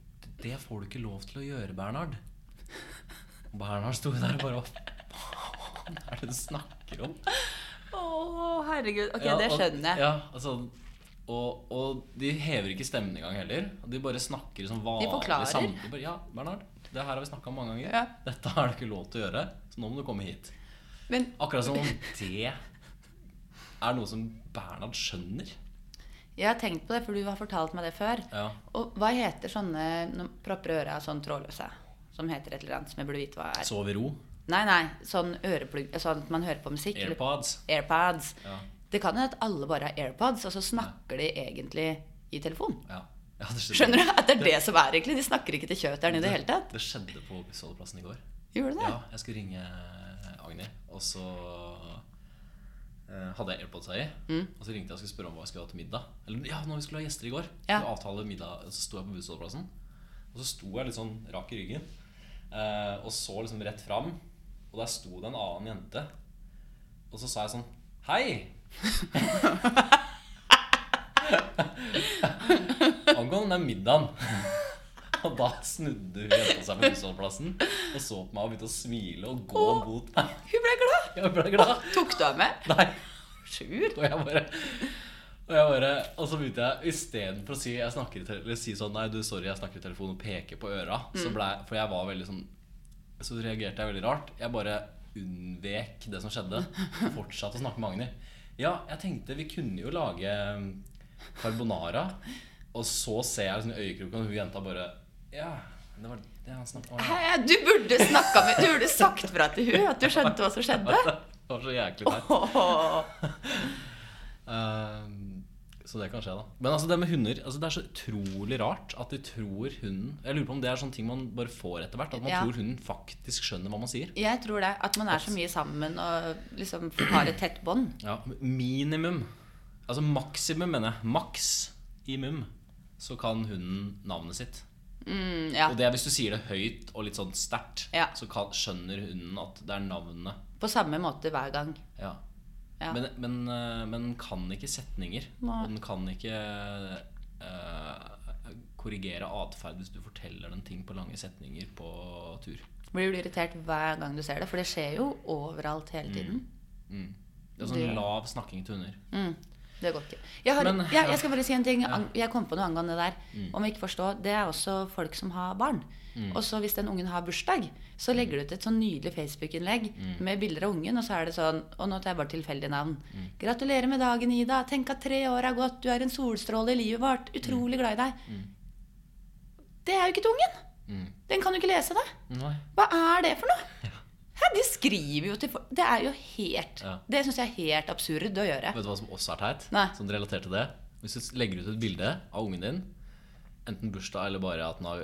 Speaker 1: det får du ikke lov til å gjøre, Bernhard. Og Bernhard sto der og bare Hva faen er det du snakker om?
Speaker 2: Å, herregud. Ok,
Speaker 1: Ja,
Speaker 2: det
Speaker 1: og-
Speaker 2: skjønner jeg.
Speaker 1: Ja, altså, og, og de hever ikke stemmen engang heller. De bare snakker som vanlig
Speaker 2: forklarer.
Speaker 1: samtale. Bare, Ja, Bernhard, det her har vi snakka om mange ganger.
Speaker 2: Ja.
Speaker 1: Dette har du ikke lov til å gjøre, så nå må du komme hit.
Speaker 2: Men
Speaker 1: Akkurat som om det er noe som Bernhard skjønner.
Speaker 2: jeg har tenkt på det, for du har fortalt meg det før.
Speaker 1: Ja.
Speaker 2: Og hva heter sånne når man propper øra sånn trådløse? Som heter et eller annet som jeg burde vite hva er.
Speaker 1: Sov i ro.
Speaker 2: Nei, nei, sånn øreplugg Sånn at man hører på musikk. eller-
Speaker 1: Airpods.
Speaker 2: AirPods.
Speaker 1: Ja.
Speaker 2: Det kan jo at alle bare har AirPods, og så snakker de egentlig i telefon.
Speaker 1: Ja. Ja, det
Speaker 2: Skjønner du? At det er det som er egentlig. De snakker ikke til kjøteren i det hele tatt.
Speaker 1: Det skjedde på Sovjeplassen i går.
Speaker 2: Gjorde de det?
Speaker 1: Ja, jeg skulle ringe Agni, og så eh, hadde jeg AirPods her i.
Speaker 2: Mm.
Speaker 1: Og så ringte jeg og skulle spørre om hva jeg skulle ha til middag. Eller ja, når vi skulle ha gjester i går.
Speaker 2: Ja.
Speaker 1: Skulle avtale middag, Så sto jeg på bussholdeplassen, og så sto jeg litt sånn rak i ryggen. eh, og så liksom rett fram, og der sto det en annen jente. Og så sa jeg sånn Hei! Angående den middagen. Og da snudde hun jenta seg på bussholdeplassen og så på meg og begynte å smile og gå
Speaker 2: Åh.
Speaker 1: mot meg.
Speaker 2: Hun ble glad!
Speaker 1: Jeg ble glad.
Speaker 2: Tok du av med?
Speaker 1: Nei.
Speaker 2: Sjur.
Speaker 1: Og jeg bare og, jeg bare, og så begynte jeg istedenfor å si jeg snakker i tele- eller si sånn Nei, du, sorry, jeg snakker i telefonen og peker på øra. Så ble, for jeg var veldig sånn Så reagerte jeg veldig rart. Jeg bare unnvek det som skjedde. og Fortsatte å snakke med Agni. Ja, jeg tenkte vi kunne jo lage um, carbonara, og så ser jeg liksom i øyekroken, og hun jenta bare Ja, det var det han snakket om.
Speaker 2: Hæ, Du burde snakka med Du burde sagt fra til hun at du skjønte hva som skjedde.
Speaker 1: Det var så jæklig teit.
Speaker 2: Åh.
Speaker 1: Um, så det kan skje, da. Men altså det med hunder altså Det er så utrolig rart at de tror hunden Jeg lurer på om det er sånne ting man bare får etter hvert. At man
Speaker 2: Ja.
Speaker 1: tror hunden faktisk skjønner hva man sier.
Speaker 2: Jeg tror det. At man er så mye sammen og liksom har et tett bånd.
Speaker 1: Ja, Minimum. Altså maksimum, mener jeg. Maks i mum. Så kan hunden navnet sitt.
Speaker 2: Mm, ja.
Speaker 1: Og det er hvis du sier det høyt og litt sånn sterkt,
Speaker 2: Ja.
Speaker 1: så kan, skjønner hunden at det er navnet.
Speaker 2: På samme måte hver gang.
Speaker 1: Ja.
Speaker 2: Ja.
Speaker 1: Men, men, eh, men den kan ikke setninger.
Speaker 2: Nei.
Speaker 1: Og den kan ikke eh, korrigere atferd hvis du forteller den ting på lange setninger på tur.
Speaker 2: Blir du irritert hver gang du ser det? For det skjer jo overalt hele tiden.
Speaker 1: Det er sånn
Speaker 2: Det-
Speaker 1: lav snakking til hunder.
Speaker 2: Det går ikke. Jeg, har,
Speaker 1: Men-
Speaker 2: ja, jeg skal bare si en ting. Ang- Jeg kom på noe angående det der. Om jeg ikke forstår, Det er også folk som har barn. Og så hvis den ungen har bursdag, så legger du ut et sånn nydelig Facebook-innlegg med bilder av ungen, og så er det sånn Og nå tar jeg bare tilfeldige navn. 'Gratulerer med dagen, Ida. Tenk at tre år har gått. Du er en solstråle i livet vårt. Utrolig glad i deg.' Det er jo ikke til ungen. Den kan jo ikke lese det.
Speaker 1: Nei.
Speaker 2: Hva er det for noe? Hæ, de skriver jo til folk Det er jo helt
Speaker 1: Ja.
Speaker 2: Det syns jeg er helt absurd å gjøre.
Speaker 1: Vet du hva som også er teit?
Speaker 2: Nei.
Speaker 1: Som relatert til det? Hvis du legger ut et bilde av ungen din, enten bursdag eller bare at den har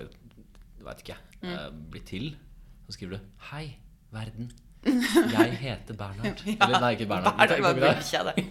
Speaker 1: vet ikke,
Speaker 2: Mm.
Speaker 1: eh, blitt til, så skriver du 'Hei, verden. Jeg heter Bernhard'. Eller nei, ikke Bernhard.
Speaker 2: Hva er det
Speaker 1: Ikke
Speaker 2: med
Speaker 1: Bernhard.
Speaker 2: bikkja, det?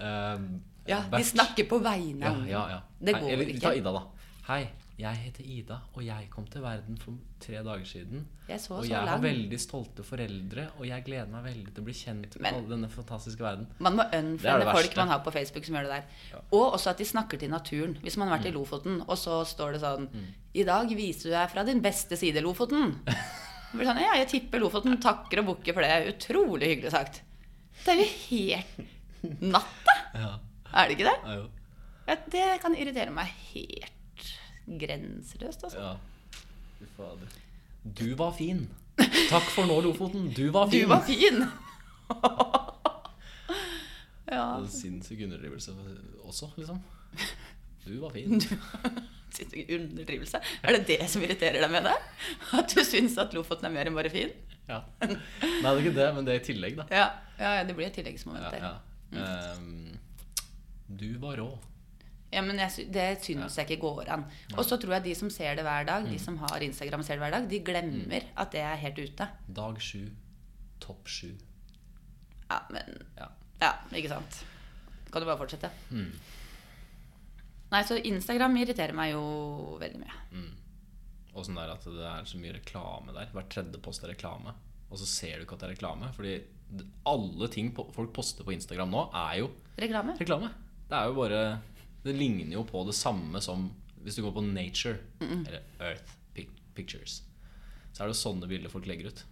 Speaker 1: Eh,
Speaker 2: Ja, de
Speaker 1: Bert.
Speaker 2: snakker på vegne
Speaker 1: Ja,
Speaker 2: av hunden.
Speaker 1: ja, ja.
Speaker 2: Mm. Det
Speaker 1: Hei,
Speaker 2: går
Speaker 1: eller,
Speaker 2: ikke.
Speaker 1: Ta Ida, da. Hei, jeg heter Ida, og jeg kom til verden for tre dager siden.
Speaker 2: Jeg så
Speaker 1: og
Speaker 2: så
Speaker 1: jeg har
Speaker 2: lang.
Speaker 1: veldig stolte foreldre, og jeg gleder meg veldig til å bli kjent med
Speaker 2: Men-
Speaker 1: all denne fantastiske verden.
Speaker 2: Man må
Speaker 1: Det er det
Speaker 2: unfriende folk
Speaker 1: verste.
Speaker 2: man har på Facebook som gjør det der. Og også at de snakker til naturen. Hvis man har
Speaker 1: Mm.
Speaker 2: vært i Lofoten, og så står det sånn I dag viser du deg fra din beste side, Lofoten. Det blir sånn, ja, jeg tipper Lofoten takker og bukker for det. Utrolig hyggelig sagt. Det er jo helt natta!
Speaker 1: Ja,
Speaker 2: Er det ikke det?
Speaker 1: ja, jo.
Speaker 2: Ja, det kan irritere meg helt grenseløst, altså.
Speaker 1: ja. Fy fader. Du var fin. Takk for nå, Lofoten. Du var
Speaker 2: Du
Speaker 1: fin.
Speaker 2: var fin! ja.
Speaker 1: Det er en Sinnssyk underdrivelse også, liksom. Du var fin.
Speaker 2: Sinnssyk underdrivelse. Er det det som irriterer deg med det? At du syns at Lofoten er mer enn bare fin?
Speaker 1: Ja. Nei, det er ikke det, men det er i tillegg, da.
Speaker 2: Ja, ja det Mm. blir et tilleggsmoment
Speaker 1: Ja,
Speaker 2: der.
Speaker 1: ja.
Speaker 2: Ja,
Speaker 1: Ehm, du var rå.
Speaker 2: men jeg, sy- Det syns jeg ikke går an. Og så tror jeg de som ser det hver dag,
Speaker 1: Mm.
Speaker 2: de som har Instagram og ser det hver dag, de glemmer at det er helt ute.
Speaker 1: Dag sju. Topp sju.
Speaker 2: Ja, men
Speaker 1: Ja. Mm.
Speaker 2: Ja, ikke sant. Kan du bare fortsette? Nei, så Instagram irriterer meg jo veldig mye.
Speaker 1: Og sånn der at det er så mye reklame der. Hver tredje post er reklame. Og så ser du ikke at det er reklame. Fordi d- alle ting po- folk poster på Instagram nå, er jo
Speaker 2: Reklame?
Speaker 1: reklame. Det er jo bare Det ligner jo på det samme som hvis du går på Nature eller Earth pic Pictures. Så er det jo sånne bilder folk legger ut.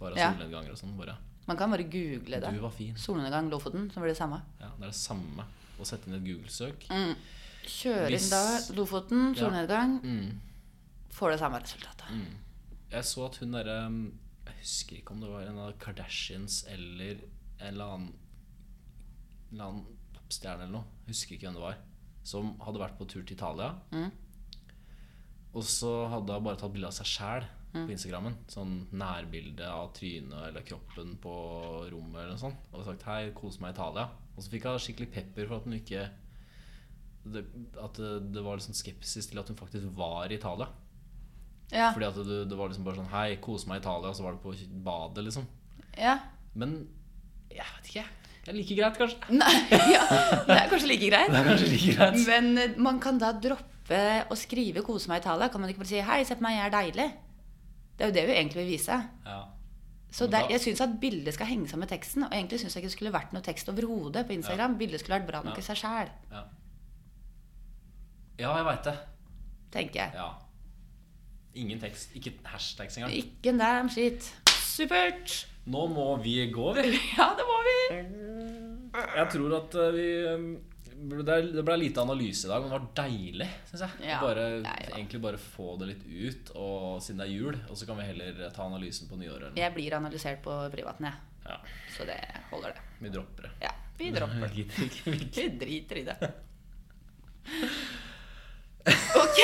Speaker 1: Bare
Speaker 2: Ja.
Speaker 1: solnedganger og sånn. Bare
Speaker 2: Man kan bare google det.
Speaker 1: Du var fin.
Speaker 2: Solnedgang Lofoten, så blir det samme.
Speaker 1: Ja, det er det samme å sette inn et Google-søk.
Speaker 2: Kjøre Mm. inn
Speaker 1: Hvis-
Speaker 2: da Lofoten,
Speaker 1: Ja. Mm.
Speaker 2: solnedgang. Får det samme resultatet.
Speaker 1: Jeg så at hun derre mm, Jeg husker ikke om det var en av Kardashians eller en eller annen, en eller annen popstjerne eller noe. Jeg Husker ikke hvem det var. Som hadde vært på tur til Italia. Og så hadde hun bare tatt bilde av seg sjæl på Instagrammen. Sånn nærbilde av trynet eller kroppen på rommet eller noe sånt. Og sagt 'hei, kos meg i Italia'. Og så fikk hun skikkelig pepper for at hun ikke det, At det, det var liksom skepsis til at hun faktisk var i Italia.
Speaker 2: Ja.
Speaker 1: Fordi at du, det var liksom bare sånn Hei, kos meg i Italia, og så var det på badet, liksom.
Speaker 2: ja.
Speaker 1: Men jeg vet ikke. Det er like greit, kanskje.
Speaker 2: Nei, ja. Det er kanskje like greit.
Speaker 1: Det er kanskje like greit.
Speaker 2: Men eh, man kan da droppe å skrive 'kose meg i Italia'. Kan man ikke bare si 'hei, se på meg, jeg er deilig'? Det er jo det vi egentlig vil vise.
Speaker 1: Ja.
Speaker 2: Så
Speaker 1: Men
Speaker 2: det,
Speaker 1: da-
Speaker 2: jeg syns at bildet skal henge sammen med teksten. Og egentlig syns jeg ikke det skulle vært noe tekst overhodet på Instagram. Bildet skulle vært bra nok i seg sjæl,
Speaker 1: Ja, ja jeg veit det.
Speaker 2: tenker jeg.
Speaker 1: Ja. Ingen tekst. Ikke hashtags engang.
Speaker 2: Ikke en damn shit. Supert!
Speaker 1: Nå må vi gå, vi.
Speaker 2: Ja, det må vi!
Speaker 1: Jeg tror at eh, vi eh, det er- det ble lite analyse i dag, men det var deilig, syns jeg.
Speaker 2: Ja,
Speaker 1: Å bare,
Speaker 2: ja, ja.
Speaker 1: Egentlig bare få det litt ut, og siden det er jul, og så kan vi heller ta analysen på nyåret. eller noe.
Speaker 2: Jeg blir analysert på privaten, jeg.
Speaker 1: Ja,
Speaker 2: Så det holder, det.
Speaker 1: vi dropper det.
Speaker 2: Ja. Vi dropper det.
Speaker 1: Jeg gidder ikke.
Speaker 2: Vi driter i det. Ok.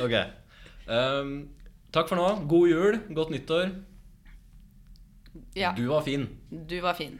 Speaker 1: Ok. Um, takk for nå. God jul, godt nyttår.
Speaker 2: Ja,
Speaker 1: Du var fin.
Speaker 2: du var fin.